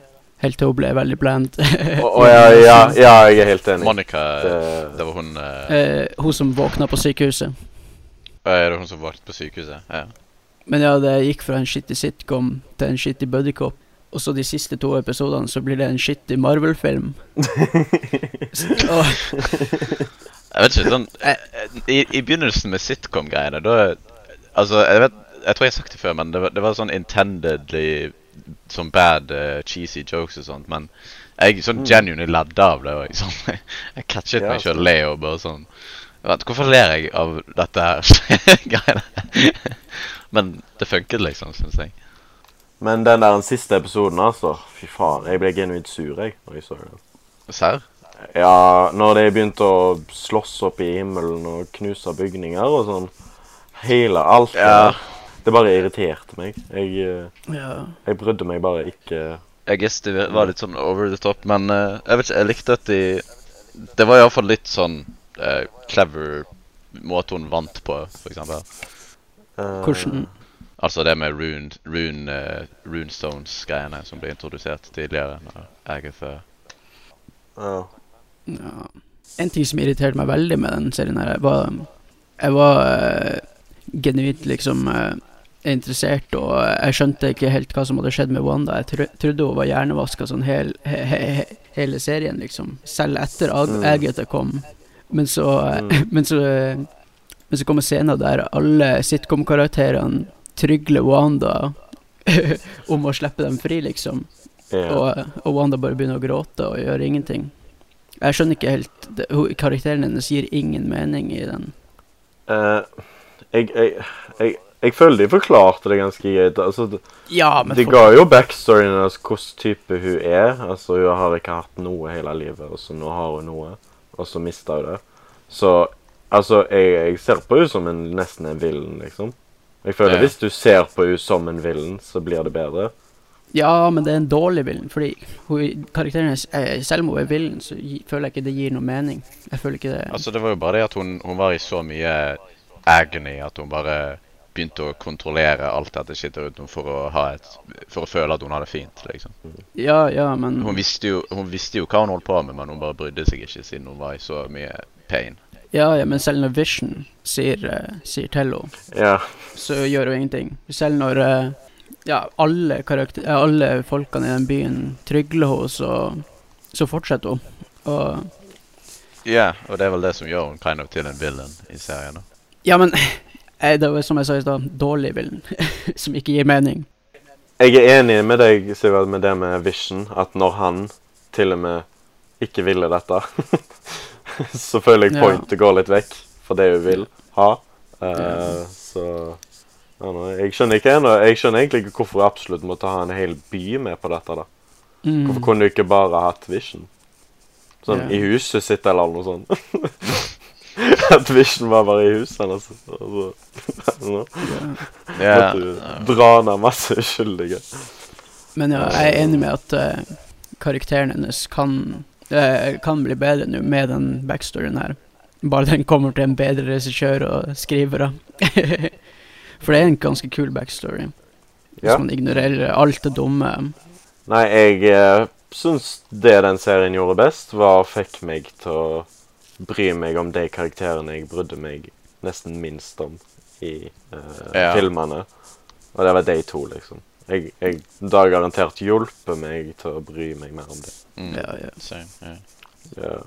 [SPEAKER 2] Helt til hun ble veldig bland.
[SPEAKER 1] Og, og ja, ja, ja, jeg er helt enig.
[SPEAKER 4] Monica,
[SPEAKER 1] Det-
[SPEAKER 4] det var hun eh,
[SPEAKER 2] Eh, hun som våkna på sykehuset.
[SPEAKER 4] Er det hun som våknet på sykehuset? Ja.
[SPEAKER 2] Men ja, det gikk fra en shitty sitcom til en shitty buddycop. Og så de siste to episodene så blir det en shitty Marvel-film. Så- Åh,
[SPEAKER 4] Jeg vet ikke, sånn eh, I, i begynnelsen med sitcom-greiene, da Altså, jeg vet Jeg tror jeg har sagt det før, men det var, det var sånn intendedly Sånn bad, eh, cheesy jokes og sånt, men jeg sånn genuinely ledde av det òg. Sånn, jeg- jeg catchet
[SPEAKER 1] Ja,
[SPEAKER 4] meg sjøl le og bare sånn Vent, hvorfor ler jeg av dette her greiene? men det funket liksom, syns jeg.
[SPEAKER 1] Men den der den siste episoden, altså. Fy faen, jeg ble genuint sur jeg, når jeg så den.
[SPEAKER 4] Serr?
[SPEAKER 1] Ja, når de begynte å slåss opp i himmelen og knuse bygninger og sånn. Hele alt. det
[SPEAKER 4] Ja.
[SPEAKER 1] der, Det bare irriterte meg. Jeg, eh,
[SPEAKER 2] ja.
[SPEAKER 1] jeg brydde meg bare ikke.
[SPEAKER 4] Jeg guess det var litt sånn over the top, men eh, jeg vet ikke, jeg likte at de Det var iallfall litt sånn eh, clever måte hun vant på, for eksempel.
[SPEAKER 1] eh,
[SPEAKER 2] Hvordan
[SPEAKER 4] Altså det med rune, rune, eh, runestones-greiene som ble introdusert tidligere. når Agatha
[SPEAKER 1] ja.
[SPEAKER 2] Ja. En ting som irriterte meg veldig med den serien her, var Jeg var eh, genuint liksom eh, interessert, og jeg skjønte ikke helt hva som hadde skjedd med Wanda. Jeg tro trodde hun var hjernevaska sånn hel, he he he hele serien, liksom. Selv etter Ag
[SPEAKER 1] Mm.
[SPEAKER 2] Agatha kom. Men så, eh, men så eh, Men så kommer scenen der alle sitcom-karakterene trygler Wanda om å slippe dem fri, liksom.
[SPEAKER 1] Ja.
[SPEAKER 2] Og, og Wanda bare begynner å gråte og gjør ingenting. Jeg skjønner ikke helt det, hun- Karakteren hennes gir ingen mening i den.
[SPEAKER 1] Eh, jeg, jeg, jeg, jeg føler de forklarte det ganske greit. altså... det-
[SPEAKER 2] Ja, men
[SPEAKER 1] De
[SPEAKER 2] for-
[SPEAKER 1] ga jo backstoryen hennes, hvordan type hun er. Altså, Hun har ikke hatt noe hele livet, og så nå har hun noe, og så mista hun det. Så altså, jeg, jeg ser på hun som en, nesten en villen, liksom. Jeg føler
[SPEAKER 4] Ja.
[SPEAKER 1] Hvis du ser på hun som en villen, så blir det bedre.
[SPEAKER 2] ja, men det er en dårlig villen, fordi hun, karakteren hennes eh, Selv om hun er villen, så gi, føler jeg ikke det gir noe mening. Jeg føler ikke det
[SPEAKER 4] Altså det var jo bare det at hun, hun var i så mye agony at hun bare begynte å kontrollere alt dette shitet rundt henne for å, ha et, for å føle at hun hadde fint, liksom.
[SPEAKER 2] Ja, ja, men
[SPEAKER 4] Hun visste, jo, hun visste jo hva hun holdt på med, men hun bare brydde seg ikke siden hun var i så mye pain.
[SPEAKER 2] Ja, ja, men selv når Vision sier, eh, sier til henne,
[SPEAKER 1] Ja.
[SPEAKER 2] så gjør hun ingenting. Selv når eh, ja, alle, karakter, eh, alle folkene i den byen trygler henne, så, så fortsetter hun. Og
[SPEAKER 4] Ja, og det er vel det som gjør hun kind of til en villain i serien. da.
[SPEAKER 2] Ja, men eh, det var som jeg sa i stad, dårlig villen, som ikke gir mening.
[SPEAKER 1] Jeg er enig med deg, Sivert, med det med Vision, at når han til og med ikke ville dette, så føler jeg
[SPEAKER 2] Ja.
[SPEAKER 1] pointet går litt vekk for det hun vil ha. Eh,
[SPEAKER 2] Ja.
[SPEAKER 1] Så ja, nå, jeg skjønner ikke ennå. Jeg skjønner egentlig ikke hvorfor jeg absolutt måtte ha en hel by med på dette. da.
[SPEAKER 2] Mm.
[SPEAKER 1] Hvorfor kunne du ikke bare hatt Vision? Sånn
[SPEAKER 2] Ja.
[SPEAKER 1] i huset sitt eller noe sånt. At Vision var bare i huset hennes. Altså, altså,
[SPEAKER 4] Ja,
[SPEAKER 1] måtte du dra ned masse uskyldige.
[SPEAKER 2] Men ja, jeg er enig med at eh, karakteren hennes kan, eh, kan bli bedre nå med den backstoryen her. Bare den kommer til en bedre regissør og skrivere. For det er en ganske kul backstory. Hvis
[SPEAKER 1] Ja.
[SPEAKER 2] man ignorerer alt det dumme.
[SPEAKER 1] Nei, jeg eh, syns det den serien gjorde best, var å fikk meg til å bry meg om de karakterene jeg brydde meg nesten minst om i eh,
[SPEAKER 4] Ja.
[SPEAKER 1] filmene. Og det var de to, liksom. Jeg, jeg, det har garantert hjulpet meg til å bry meg mer om det.
[SPEAKER 4] mm,
[SPEAKER 2] Ja, ja.
[SPEAKER 4] same, ja.
[SPEAKER 1] eh, Ja.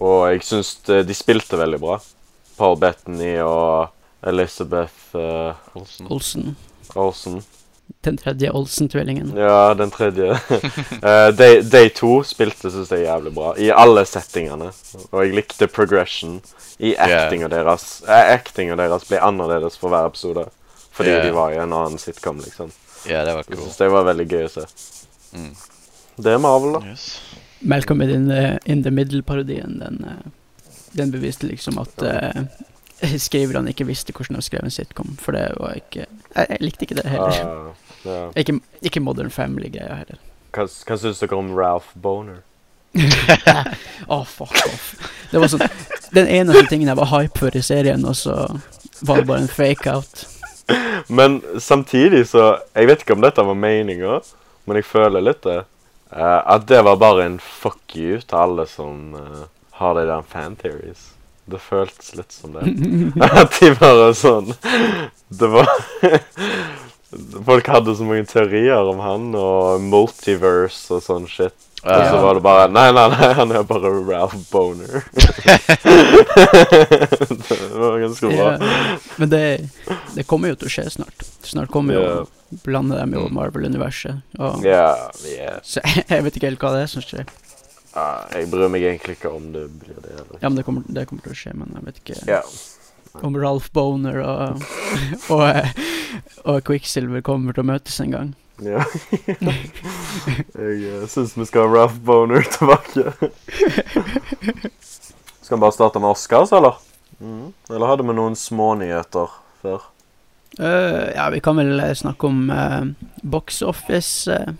[SPEAKER 1] Og jeg syns de, de spilte veldig bra. Paul Bettany og Elizabeth eh,
[SPEAKER 4] Olsen.
[SPEAKER 2] Olsen.
[SPEAKER 1] Olsen.
[SPEAKER 2] Den tredje Olsen-tvillingen.
[SPEAKER 1] Ja, den tredje. Eh, de, de to spilte synes jeg jævlig bra, i alle settingene. Og jeg likte progression i
[SPEAKER 4] Yeah.
[SPEAKER 1] actinga deres. Eh, actinga deres ble annerledes for hver episode. Fordi
[SPEAKER 4] Yeah.
[SPEAKER 1] de var i en annen sitcom, liksom.
[SPEAKER 4] Ja, det var
[SPEAKER 1] Jeg
[SPEAKER 4] cool.
[SPEAKER 1] synes det var veldig gøy å se.
[SPEAKER 4] Mm.
[SPEAKER 1] Det er Marvel, da.
[SPEAKER 4] Yes.
[SPEAKER 2] Malcolm in the, in the Middle-parodien, den, eh, den beviste liksom at eh, skriverne ikke visste hvordan de skrev en sitcom, for det var ikke Jeg, jeg likte ikke det heller.
[SPEAKER 1] Ah, ja.
[SPEAKER 2] Ikke, ikke Modern Family-greia heller.
[SPEAKER 1] Hva, hva syns dere om Ralph Boner?
[SPEAKER 2] Å, fuck off. Det var sånn Den eneste tingen jeg var hype for i serien, og så var det bare en fake-out.
[SPEAKER 1] Men samtidig så Jeg vet ikke om dette var meninga, men jeg føler litt det. eh, at det var bare en fuck you til alle som eh, har de der fan-theories. Det føltes litt som det. At de bare sånn Det var Folk hadde så mange teorier om han og multiverse og sånn shit. Og så
[SPEAKER 2] Ja.
[SPEAKER 1] var det bare Nei, nei, nei, han er bare Ralph Boner. det var ganske bra.
[SPEAKER 2] Ja. Men det, det kommer jo til å skje snart. Snart kommer jo
[SPEAKER 1] Ja.
[SPEAKER 2] å blande dem i
[SPEAKER 4] Mm.
[SPEAKER 2] Marvel-universet. Og
[SPEAKER 1] Ja, ja.
[SPEAKER 2] Så jeg vet ikke helt hva det er som skjer.
[SPEAKER 1] Ah, jeg bryr meg egentlig ikke om det blir det. Eller.
[SPEAKER 2] Ja, men det kommer, det kommer til å skje, men jeg vet ikke
[SPEAKER 1] Ja.
[SPEAKER 2] om Ralph Boner og, og, eh, og Quicksilver kommer til å møtes en gang.
[SPEAKER 1] ja. jeg uh, syns vi skal ha Ralph Boner tilbake. skal vi bare starte med Oscars, eller? Mm. Eller hadde vi noen smånyheter før?
[SPEAKER 2] Eh, ja, vi kan vel eh, snakke om eh, box office. eh.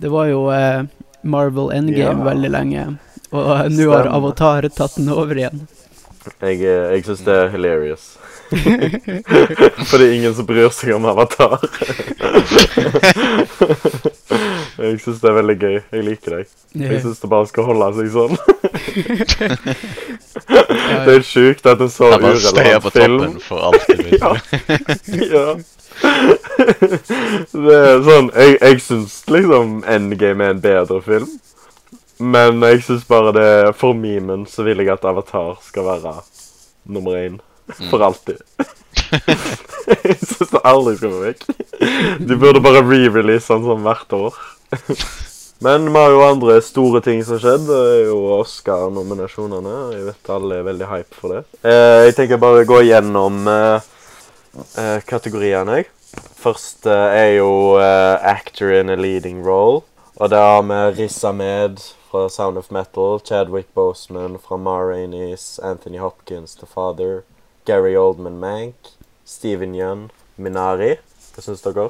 [SPEAKER 2] det var jo eh, Marvel Endgame
[SPEAKER 1] Ja.
[SPEAKER 2] veldig lenge, og eh, nå har
[SPEAKER 1] Stemmer.
[SPEAKER 2] Avatar tatt den over igjen.
[SPEAKER 1] Jeg, eh, jeg syns det er hilarious. Fordi ingen som bryr seg om Avatar. jeg syns det er veldig gøy. Jeg liker deg. Jeg syns det bare skal holde seg sånn.
[SPEAKER 2] Ja,
[SPEAKER 1] Det er sjukt at en så
[SPEAKER 4] Jeg bare støyer på
[SPEAKER 1] urelevant film
[SPEAKER 4] toppen for alltid.
[SPEAKER 1] Ja. ja. Det er sånn Jeg, jeg syns liksom Endgame er en bedre film. Men jeg syns bare det For memen så vil jeg at Avatar skal være nummer én. For alltid. jeg syns det aldri skal gå vekk. De burde bare re-release den sånn hvert år. Men vi har jo andre store ting som skjedde. Det er jo Oscar-nominasjonene. Jeg vet alle er veldig hype for det. Eh, jeg tenker bare gå gjennom eh, eh, kategoriene, jeg. Først eh, er jo eh, Actor in a Leading Role. Og der har vi Riz Ahmed fra Sound of Metal, Chadwick Boseman fra Ma Rainey's, Anthony Hopkins The Father, Gary Oldman Mank, Steven Yeun, Minari. Hva syns dere?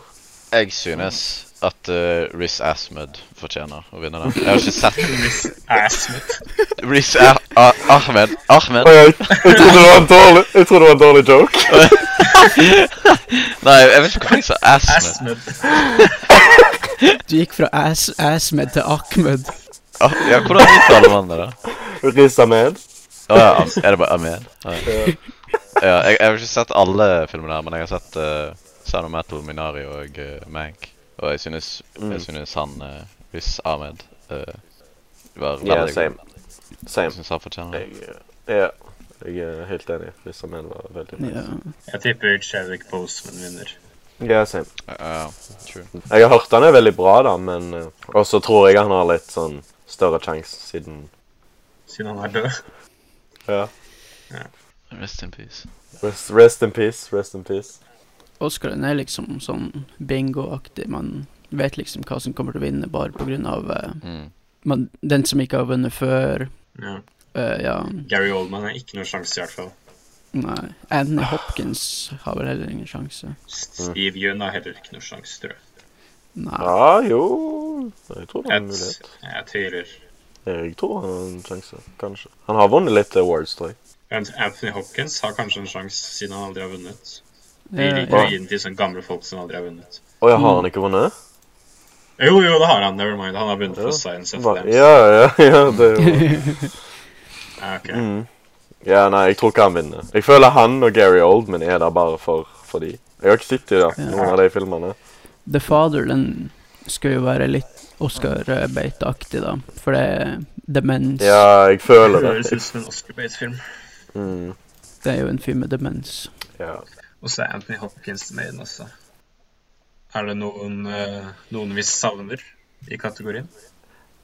[SPEAKER 4] Jeg synes at uh, Riz Asmund fortjener å vinne den. Jeg har ikke sett
[SPEAKER 3] Assmith.
[SPEAKER 4] Riz A A Ahmed Ahmed?
[SPEAKER 1] Oi, oi. Jeg trodde det var en dårlig, jeg trodde det var en dårlig joke.
[SPEAKER 4] Nei, jeg vet ikke hvorfor jeg sa Asmund.
[SPEAKER 3] Assmith.
[SPEAKER 2] du gikk fra As Asmed til Ahmed.
[SPEAKER 4] Ah, ja, hvordan uttaler man det, da?
[SPEAKER 1] Riz Ahmed.
[SPEAKER 4] Å ja, Am- er det bare Ahmed? Ah, ja. ja, jeg, jeg har ikke sett alle filmene her, men jeg har sett uh, Sound of Metal, Minari og uh, Mank. Og jeg synes,
[SPEAKER 1] Mm.
[SPEAKER 4] jeg synes han uh, Riz Ahmed uh, var veldig
[SPEAKER 1] Ja, same.
[SPEAKER 4] Jeg
[SPEAKER 1] Same.
[SPEAKER 4] synes han fortjener det.
[SPEAKER 1] Jeg, eh, ja, jeg er helt enig. Riz Ahmed var veldig
[SPEAKER 2] Ja.
[SPEAKER 3] Jeg tipper Chadwick Boseman vinner.
[SPEAKER 1] Ja, same.
[SPEAKER 4] Ja, true.
[SPEAKER 1] Jeg har hørt han er veldig bra, da, men eh, Og så tror jeg han har litt sånn større sjanse siden
[SPEAKER 3] Siden han er død.
[SPEAKER 1] Ja.
[SPEAKER 4] Rest in peace.
[SPEAKER 1] Rest, rest in peace, rest in peace.
[SPEAKER 2] Oscaren er liksom sånn bingo-aktig. Man vet liksom hva som kommer til å vinne, bare på grunn av eh,
[SPEAKER 4] Mm.
[SPEAKER 2] man, den som ikke har vunnet før.
[SPEAKER 3] Ja.
[SPEAKER 2] eh, ja,
[SPEAKER 3] Gary Oldman har ikke noen sjanse, i hvert fall.
[SPEAKER 2] nei. Anthony Hopkins har vel heller ingen sjanse.
[SPEAKER 3] Steve Yeun har heller ikke noen sjanse, tror jeg.
[SPEAKER 2] Nei.
[SPEAKER 1] Ja, jo Jeg tror han har en
[SPEAKER 3] Et,
[SPEAKER 1] mulighet.
[SPEAKER 3] jeg tviler.
[SPEAKER 1] Jeg tror han har en sjanse, kanskje. Han har vunnet litt awards, tror jeg.
[SPEAKER 3] Ant- Anthony Hopkins har kanskje en sjanse, siden han aldri har vunnet. De
[SPEAKER 2] Ja,
[SPEAKER 3] liker å gi den til sånne gamle folk som aldri har vunnet.
[SPEAKER 1] Å ja, har han ikke vunnet?
[SPEAKER 3] Jo, jo, det har han. Never mind. Han har vunnet
[SPEAKER 1] Ja.
[SPEAKER 3] for Science of
[SPEAKER 1] Hva?
[SPEAKER 3] Lambs.
[SPEAKER 1] Ja, ja, ja, det er jo
[SPEAKER 3] Ja, Ah, ok.
[SPEAKER 1] Mm. Ja, nei, jeg tror ikke han vinner. Jeg føler han og Gary Oldman er der bare for, for de. Jeg har ikke sett de da, noen av de filmene.
[SPEAKER 2] The Father, den skulle jo være litt Oscar-beiteaktig, da. For det er demens.
[SPEAKER 1] Ja, jeg
[SPEAKER 3] Det
[SPEAKER 1] føler det.
[SPEAKER 3] høres ut som en Oscar-based film.
[SPEAKER 1] Mm,
[SPEAKER 2] Det er jo en fyr med demens.
[SPEAKER 1] ja.
[SPEAKER 3] Og så er Anthony Hopkins med i den også. Er det noen, eh, noen vi savner i kategorien?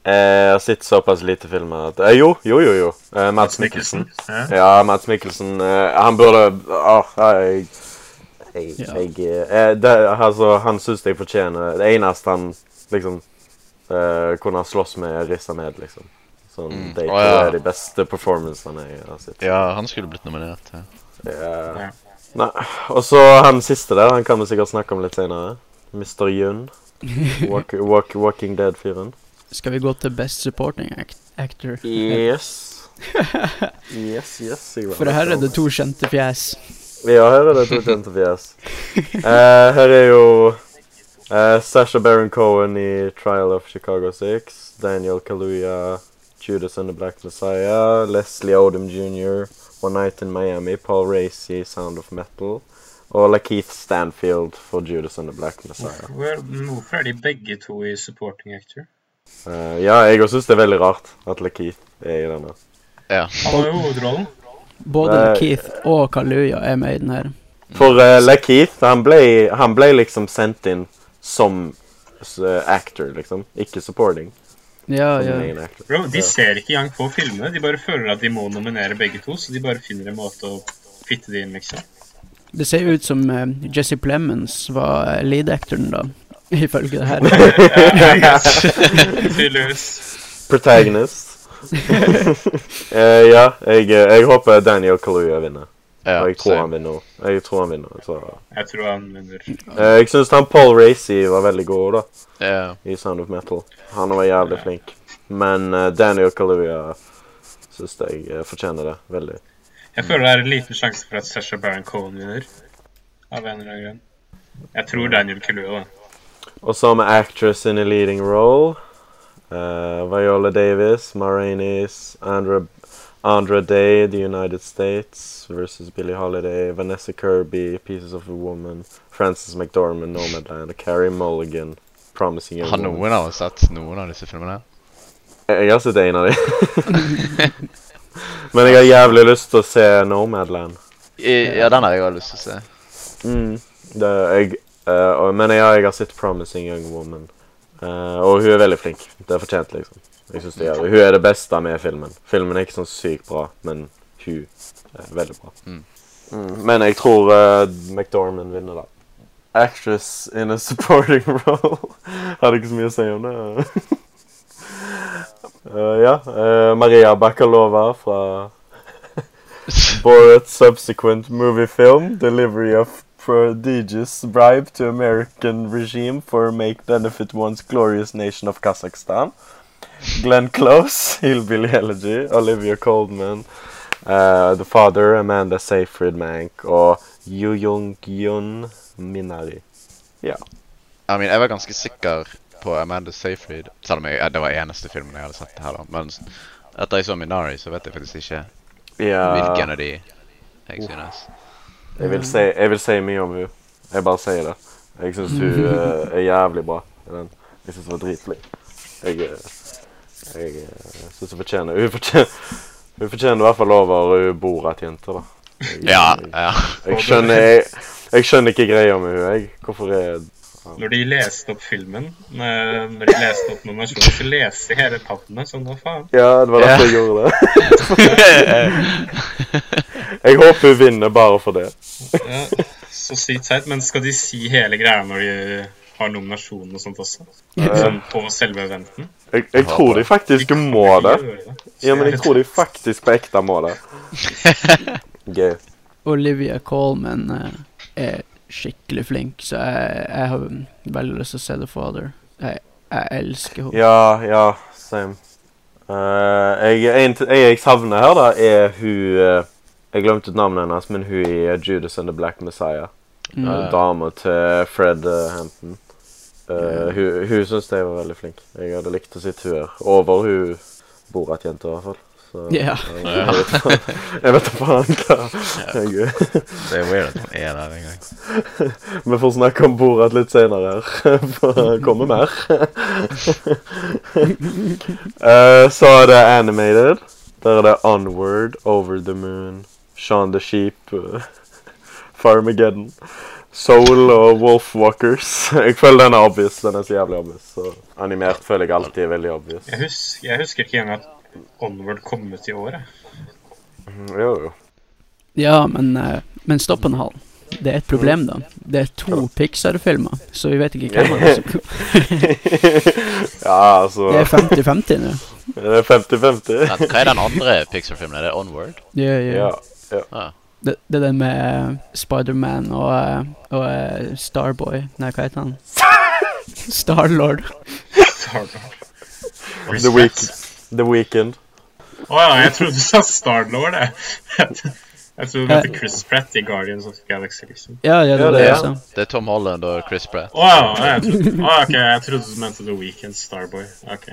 [SPEAKER 1] Eh, Jeg har sett såpass lite filmer at eh, Jo, jo, jo. jo. Eh, Mads Mikkelsen.
[SPEAKER 3] Ja.
[SPEAKER 1] Ja, Mads Mikkelsen. eh, han burde Åh, jeg jeg,
[SPEAKER 2] Ja.
[SPEAKER 1] jeg eh, det, altså, Han syns jeg fortjener Det eneste han liksom eh, kunne ha slåss med, er Riz Ahmed, liksom. Sånn,
[SPEAKER 4] Mm.
[SPEAKER 1] De
[SPEAKER 4] Å,
[SPEAKER 1] to
[SPEAKER 4] ja.
[SPEAKER 1] er de beste performancene jeg har sett.
[SPEAKER 4] Ja, han skulle blitt nominert. Ja.
[SPEAKER 1] Eh,
[SPEAKER 3] Ja.
[SPEAKER 1] Nei. Og så han siste der, han kan vi sikkert snakke om litt senere. Mr. Yun. Walk, walk, walking Dead-fyren.
[SPEAKER 2] Skal vi gå til Best Supporting act Actor?
[SPEAKER 1] Yes. Yes, yes. jeg var
[SPEAKER 2] For her er
[SPEAKER 1] veldig
[SPEAKER 2] det to kjente fjes.
[SPEAKER 1] Ja, her er det to kjente fjes. Eh, her er jo eh, Sasha Baron Cohen i Trial of Chicago 6. Daniel Kaluuya, Judas and the Black Messiah. Leslie Odom jr. One Night in Miami. Paul Racy, Sound of Metal. Og Lakeith Stanfield for Judas and the Black Messiah.
[SPEAKER 3] Hvor- Hvorfor er de begge to i supporting actor?
[SPEAKER 1] Eh, ja, jeg også syns det er veldig rart at Lakeith er i denne.
[SPEAKER 3] Han har jo hovedrollen.
[SPEAKER 2] Både
[SPEAKER 1] Nei.
[SPEAKER 2] Keith og Kaluya er med i den her.
[SPEAKER 1] For uh, Lakeith, han ble, han ble liksom sendt inn som s- actor, liksom. Ikke supporting.
[SPEAKER 2] Ja,
[SPEAKER 1] som
[SPEAKER 2] ja.
[SPEAKER 1] main actor.
[SPEAKER 3] Bro, de
[SPEAKER 1] Ja.
[SPEAKER 3] ser ikke engang på filmene. De bare føler at de må nominere begge to, så de bare finner en måte å fitte de inn, liksom.
[SPEAKER 2] Det ser ut som eh, Jesse Plemons var eh, lead-actoren, da. Ifølge det her.
[SPEAKER 3] Tydeligvis.
[SPEAKER 1] Protagonist. Eh, ja, jeg, jeg håper Daniel Kaluuya vinner.
[SPEAKER 4] Ja,
[SPEAKER 1] og jeg tror
[SPEAKER 4] så-
[SPEAKER 1] han vinner. Jeg tror han vinner. Så.
[SPEAKER 3] Jeg tror han vinner.
[SPEAKER 1] Eh, jeg syns han Paul Racy var veldig god da,
[SPEAKER 4] ja.
[SPEAKER 1] i Sound of Metal. Han var jævlig flink. Men eh, Daniel Kaluuya syns jeg eh, fortjener det veldig.
[SPEAKER 3] Jeg føler det er en liten sjanse for at Sasha Baron Cohen vinner. Av en eller annen grunn. Jeg tror Daniel Kaluuya, da.
[SPEAKER 1] Og så med actress in a leading role. eh, Viola Davis, Maranis, Andra, Andra Day, The United States versus Billie Holiday, Vanessa Kirby, Pieces of a Woman, Frances McDormand, Nomadland, Carrie Mulligan, Promising Young
[SPEAKER 4] Har
[SPEAKER 1] Woman.
[SPEAKER 4] noen av oss sett noen av disse filmene?
[SPEAKER 1] Jeg jeg har sett en av dem. Men jeg har jævlig lyst til å se Nomadland.
[SPEAKER 4] I, ja, den har jeg også lyst til å se.
[SPEAKER 1] Mm. Det, jeg, eh, og, men ja, jeg har sett Promising Young Woman. Eh, og hun er veldig flink. Det er fortjent, liksom. Jeg synes det er, Hun er det beste med filmen. Filmen er ikke sånn sykt bra, men hun er veldig bra.
[SPEAKER 4] Mm.
[SPEAKER 1] Mm, men jeg tror eh, McDormand vinner, da. Actress in a supporting role. Hadde ikke så mye å si om det. Eh, ja. eh, Maria Bakalova fra Borat subsequent movie film, delivery of prodigious bribe to American regime for make benefit one's glorious nation of Kazakhstan. Glenn Close, Hillbilly Elegy, Olivia Coldman, uh, The Father, Amanda Seyfried Mank og Yoo Jung-yun Minari.
[SPEAKER 4] I mean, jeg var ganske sikker på Amanda Seyfried, selv om jeg, ja, det var eneste filmen jeg hadde sett her, da. Men s- etter jeg så Minari, så vet jeg faktisk ikke hvilken av de jeg synes.
[SPEAKER 1] Jeg vil, si, jeg vil si mye om hun. Jeg bare sier det. Jeg syns hun eh, er jævlig bra. i den. Jeg syns hun var dritflink. Jeg, eh, jeg syns hun fortjener Hun fortjener, hun fortjener i hvert fall over hun Borat-jente, da. Jeg,
[SPEAKER 4] Ja,
[SPEAKER 1] jeg,
[SPEAKER 4] ja.
[SPEAKER 1] jeg, skjønner, jeg, jeg skjønner ikke greia med hun, jeg. Hvorfor er
[SPEAKER 3] Når de leste opp filmen, eh, når de leste opp nominasjonen, så leste jeg hele pappene som hva faen.
[SPEAKER 1] Ja, det var derfor jeg gjorde det. Jeg håper hun vinner bare for det.
[SPEAKER 3] Ja, så sykt seigt. Men skal de si hele greia når de har nominasjon og sånt også?
[SPEAKER 1] Eh.
[SPEAKER 3] Sånn på selve eventen?
[SPEAKER 1] Jeg, jeg tror de faktisk må det. Ja, men jeg tror de faktisk på ekte må det. Gøy.
[SPEAKER 2] Olivia Colman eh, er skikkelig flink, så jeg, jeg har veldig lyst til å se The Father. Jeg, jeg elsker henne.
[SPEAKER 1] Ja, ja, same. Eh, jeg, en, t- en jeg savner her, da, er hun eh, Jeg glemte ut navnet hennes, men hun i eh, Judas and the Black Messiah.
[SPEAKER 2] Mm.
[SPEAKER 1] Uh, Dama til Fred eh, Hampton. Eh, hun hun syns jeg var veldig flink. Jeg hadde likt å sitte hun her. Over hun Borat-jenta, i hvert fall. Så,
[SPEAKER 2] Ja.
[SPEAKER 1] jeg, jeg vet faen- jeg vet da faen hva jeg,
[SPEAKER 4] Det er weird at hun er der engang.
[SPEAKER 1] Vi får snakke om Borat litt senere her. For det kommer mer. Eh, så er det animated. Der er det Onward, Over the Moon, Shaun the Sheep, eh, Farmageddon. Soul og Wolfwalkers. Jeg føler den er obvious. Den er så jævlig obvious. Så animert føler jeg alltid er veldig obvious.
[SPEAKER 3] Jeg, hus jeg husker ikke engang at Onward kom ut i år. jeg.
[SPEAKER 1] Jo, jo.
[SPEAKER 2] Ja, men, eh, men stopp en halv. Det er et problem, da. Det er to Pixar-filmer, så vi vet ikke hvem av dem som
[SPEAKER 1] Ja, altså
[SPEAKER 2] Det er 50-50 nå.
[SPEAKER 1] Det er 50-50.
[SPEAKER 4] Vent, Hva er den andre Pixar-filmen? Er det Onward?
[SPEAKER 2] Ja, ja.
[SPEAKER 1] Ja.
[SPEAKER 4] Ah.
[SPEAKER 2] Det, det er den med eh, Spiderman og, eh, og eh, Starboy Nei, hva heter han? Starlord.
[SPEAKER 3] Starlord.
[SPEAKER 1] The, week, the Weekend.
[SPEAKER 3] Å ja, jeg trodde du sa Starlord, jeg. Jeg trodde det het Chris Pratt i Guardians of the Galaxy, liksom.
[SPEAKER 2] Ja, ja, det
[SPEAKER 1] Ja,
[SPEAKER 2] var
[SPEAKER 1] det
[SPEAKER 2] det
[SPEAKER 1] er
[SPEAKER 2] altså. jeg
[SPEAKER 1] han.
[SPEAKER 2] sa.
[SPEAKER 4] Det er Tom Holland og Chris Pratt.
[SPEAKER 3] Å ja, jeg trodde, å, ok, jeg trodde du mente The Weekend Starboy. Ok.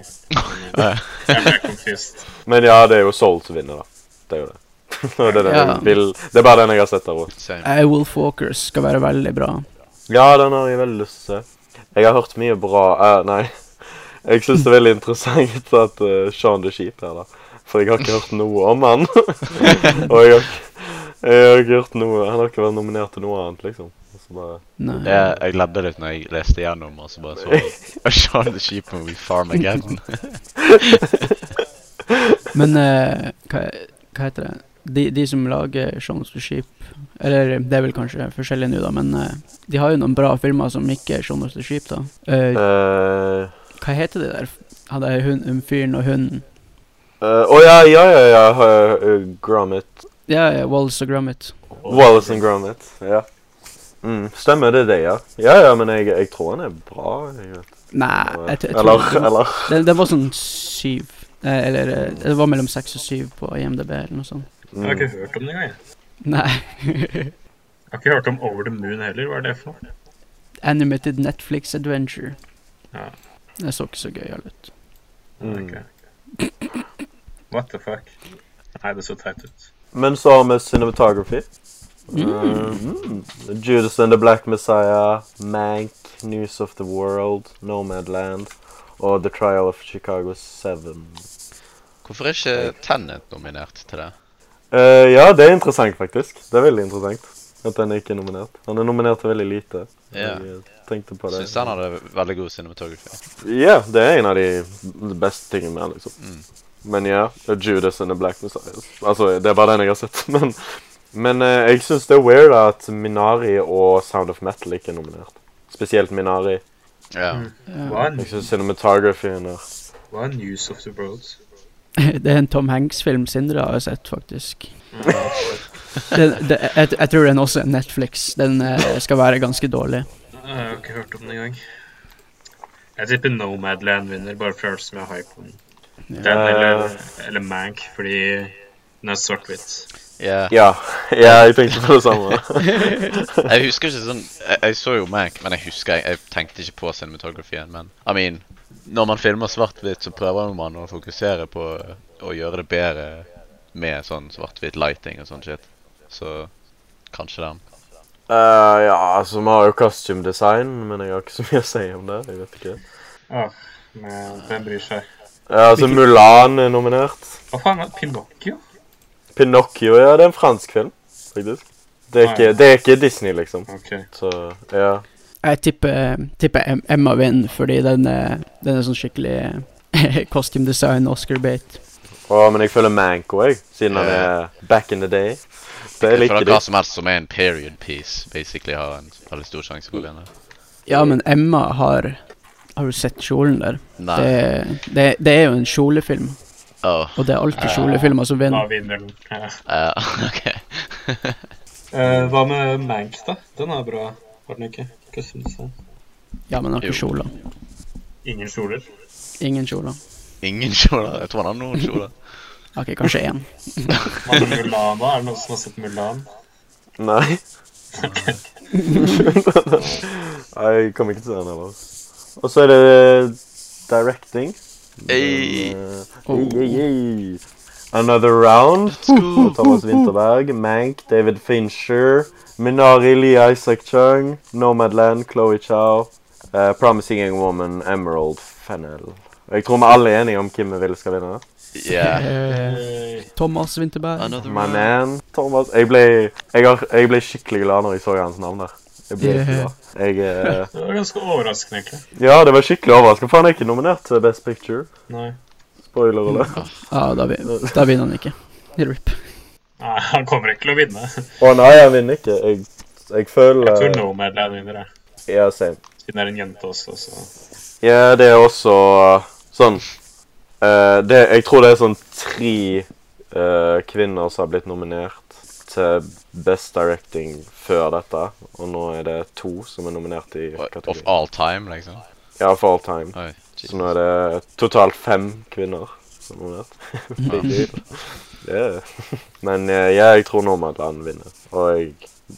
[SPEAKER 4] Ja.
[SPEAKER 3] Jeg ble confused.
[SPEAKER 1] Men ja, det er jo Soul som vinner, da. Det er jo det. Og det, er den jeg
[SPEAKER 2] Ja.
[SPEAKER 1] vil, det er bare den jeg har sett av henne.
[SPEAKER 4] Same.
[SPEAKER 2] Eh, Wolf Walkers skal være veldig bra.
[SPEAKER 1] Ja, den har jeg veldig lyst til å se. Jeg har hørt mye bra eh, Nei. Jeg syns det er veldig interessant at eh, Sean the Sheep er der. For jeg har ikke hørt noe om han. Og jeg har, ikke- jeg har ikke hørt noe Han har ikke vært nominert til noe annet, liksom. Og så bare
[SPEAKER 2] Nei.
[SPEAKER 4] Jeg, jeg gledde litt når jeg leste gjennom, og så bare så jeg Sean the Sheep Movie Farmageddon.
[SPEAKER 2] Men eh, hva, hva heter det de, de som lager Shaun the Sheep Eller det er vel kanskje forskjellig nå, da, men eh, de har jo noen bra filmer som ikke er Shaun the Sheep, da. Eh,
[SPEAKER 1] eh,
[SPEAKER 2] hva heter det der? Han der hun, um, fyren og hunden
[SPEAKER 1] eh, Å ja, ja, ja, ja. eh, Gromit.
[SPEAKER 2] Ja, ja, Walls og Gromit.
[SPEAKER 1] Wallace and Gromit. Ja. Mm, stemmer det, det, ja. Ja, ja, men jeg, jeg tror han er bra. Jeg vet.
[SPEAKER 2] Nei, jeg, t- jeg tror
[SPEAKER 1] eller,
[SPEAKER 2] det var-
[SPEAKER 1] eller
[SPEAKER 2] det, det var sånn syv. eh, Eller eh, det var mellom seks og syv på IMDb eller noe sånt.
[SPEAKER 3] Jeg har
[SPEAKER 1] mm.
[SPEAKER 3] ikke hørt om det engang. jeg.
[SPEAKER 2] Nei.
[SPEAKER 3] Jeg har ikke hørt om Over the Moon heller. Hva er det for noe?
[SPEAKER 2] Animated Netflix Adventure.
[SPEAKER 3] Ja.
[SPEAKER 2] Det så ikke så gøyal ut.
[SPEAKER 1] Mm.
[SPEAKER 3] Ok. What the fuck? Nei, det så teit ut.
[SPEAKER 1] Men så har vi cinematography.
[SPEAKER 2] Mm.
[SPEAKER 1] Uh, mm. Judas and the Black Messiah, Mank, News of the World, Nomadland og The Trial of Chicago 7.
[SPEAKER 4] Hvorfor er ikke Tenet nominert til det?
[SPEAKER 1] Eh, ja, det er interessant, faktisk. Det er veldig interessant at den ikke er nominert. Han er nominert til veldig lite.
[SPEAKER 4] Ja.
[SPEAKER 1] Jeg eh, tenkte på det.
[SPEAKER 4] Syns han hadde veldig god cinematography.
[SPEAKER 1] Ja, det er en av de beste tingene med han, liksom.
[SPEAKER 4] Mm.
[SPEAKER 1] Men ja, Judas and the Black Messiah. Altså, det er bare den jeg har sett. Men, men eh, jeg syns det er weird at Minari og Sound of Metal ikke er nominert. Spesielt Minari.
[SPEAKER 4] Ja.
[SPEAKER 3] Hva er,
[SPEAKER 1] Jeg syns cinematographyen er
[SPEAKER 3] Mm. hva er News of the Road?
[SPEAKER 2] Eh, Det er en Tom Hanks-film Sindre har sett, faktisk. Den, det, jeg, jeg tror den også er Netflix. Den eh, skal være ganske dårlig.
[SPEAKER 3] Jeg har ikke hørt om den engang. Jeg tipper Nomadland vinner, bare for som jeg har hype på den. Den eller, eller Mank, fordi den er svart-hvitt.
[SPEAKER 4] Ja.
[SPEAKER 1] Ja, ja jeg tenkte på det samme.
[SPEAKER 4] Jeg husker ikke sånn Jeg, jeg så jo Mac, men jeg husker jeg, jeg tenkte ikke på cinematografien. Men I mean, når man filmer svart-hvitt, så prøver man å fokusere på å gjøre det bedre med sånn svart-hvitt lighting og sånn shit. Så kanskje den.
[SPEAKER 1] Eh, ja, altså, vi har jo costume design, men jeg har ikke så mye å si om det. Jeg vet ikke.
[SPEAKER 3] Åh, men hvem bryr seg?
[SPEAKER 1] Ja, altså, Mulan er nominert.
[SPEAKER 3] Hva faen er Pinocchio?
[SPEAKER 1] Pinocchio, ja, det er en fransk film, faktisk. Det er ikke, det er ikke Disney, liksom.
[SPEAKER 3] Ok.
[SPEAKER 1] Så, ja.
[SPEAKER 2] Jeg tipper, tipper Em- Emma vinner, fordi den er, den er sånn skikkelig eh, costume design Oscar-bait.
[SPEAKER 1] Å, men jeg føler Manko, jeg. Siden han
[SPEAKER 4] Ja.
[SPEAKER 1] er back in the day. Så jeg
[SPEAKER 4] Jeg
[SPEAKER 1] liker
[SPEAKER 4] føler hva
[SPEAKER 1] det.
[SPEAKER 4] som helst som er en period piece, basically har en veldig stor sjanse for å vinne.
[SPEAKER 2] Ja, men Emma har Har du sett kjolen der?
[SPEAKER 4] Nei.
[SPEAKER 2] Det, det, det er jo en kjolefilm,
[SPEAKER 4] Åh,
[SPEAKER 2] og det er alltid Altså, kjolefilmer som
[SPEAKER 3] Da
[SPEAKER 2] vinner.
[SPEAKER 3] vinner den. Ja.
[SPEAKER 4] eh, ok.
[SPEAKER 3] Eh, hva med Mank, da? Den er bra, var den ikke? Hva synes jeg?
[SPEAKER 2] Ja, men har ikke
[SPEAKER 4] Jo.
[SPEAKER 2] kjoler.
[SPEAKER 3] Ingen kjoler.
[SPEAKER 2] Ingen kjoler.
[SPEAKER 4] Ingen kjoler. Jeg tror han har noen kjoler.
[SPEAKER 2] OK, kanskje én.
[SPEAKER 3] Hva med Mulan, da? Er det noen som har sett Mulan?
[SPEAKER 1] Nei. Nei, jeg kommer ikke til den heller. Og så er det directing.
[SPEAKER 4] Ei.
[SPEAKER 1] Eh, ei, ei, ei. Another Round. Thomas Winterberg. Mank. David Fincher. Minari Lee Isaac Chung. Nomadland. Chloé Chow. eh, Promising Young Woman. Emerald Fennel. Jeg tror vi alle er enige om hvem vi vil skal vinne.
[SPEAKER 4] Yeah.
[SPEAKER 2] Eh,
[SPEAKER 3] Yay.
[SPEAKER 2] Thomas Winterberg.
[SPEAKER 4] Another
[SPEAKER 1] My
[SPEAKER 4] round.
[SPEAKER 1] man, Thomas. Jeg ble, jeg, har, jeg ble skikkelig glad når jeg så hans navn der. Jeg ble
[SPEAKER 2] Yeah.
[SPEAKER 1] glad. Jeg, eh,
[SPEAKER 3] Det var ganske overraskende, egentlig.
[SPEAKER 1] ja, det var skikkelig overraskende, for han er ikke nominert til Best Picture.
[SPEAKER 3] Nei.
[SPEAKER 1] Spoiler alert.
[SPEAKER 2] Ja, da, vin- da vinner han ikke. RIP.
[SPEAKER 3] Nei, han kommer ikke til å vinne.
[SPEAKER 1] Å nei, han vinner ikke. Jeg, jeg føler
[SPEAKER 3] Mm. Jeg tror Nomadland vinner, jeg.
[SPEAKER 1] Ja, same.
[SPEAKER 3] Siden det er en jente også, så
[SPEAKER 1] Ja, det er også uh, sånn eh, det, Jeg tror det er sånn tre eh, kvinner som har blitt nominert til Best Directing før dette, og nå er det to som er nominert i
[SPEAKER 4] What, Of
[SPEAKER 1] kategorien.
[SPEAKER 4] all time, liksom?
[SPEAKER 3] ah.
[SPEAKER 1] Ja, for all time.
[SPEAKER 4] Oi,
[SPEAKER 1] Så nå er det totalt fem kvinner som er nominert. Begge. Det er Men eh, ja, jeg tror Nomadland vinner. Og jeg,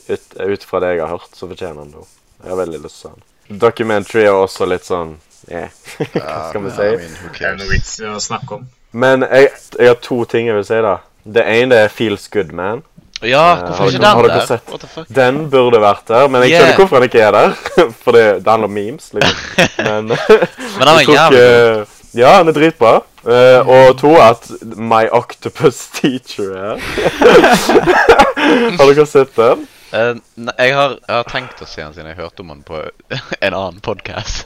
[SPEAKER 1] ut, ut fra det jeg har hørt, så fortjener han det. også. Jeg har veldig lyst til han. Documentary er også litt sånn eh. Hva skal vi si?
[SPEAKER 3] det er noe
[SPEAKER 4] si?
[SPEAKER 3] vits i å snakke om.
[SPEAKER 1] Men jeg, jeg har to ting jeg vil si, da. Det ene er Feels Good Man.
[SPEAKER 4] Ja,
[SPEAKER 1] Eh, har
[SPEAKER 4] hvorfor ikke
[SPEAKER 1] dere-
[SPEAKER 4] den
[SPEAKER 1] har dere
[SPEAKER 4] der?
[SPEAKER 1] sett-
[SPEAKER 4] What the fuck?
[SPEAKER 1] Den burde vært der, men jeg
[SPEAKER 4] Yeah.
[SPEAKER 1] skjønner hvorfor den ikke er der. For det, det handler om memes, liksom. Men
[SPEAKER 4] Men den var
[SPEAKER 1] Jeg eh, tror
[SPEAKER 4] jævlig god.
[SPEAKER 1] ikke- Ja, han er dritbra. Eh, og to at My Octopus Teacher er Har dere sett den?
[SPEAKER 4] Eh, nei, jeg, har, jeg har tenkt å se den siden jeg hørte om den på en annen podkast.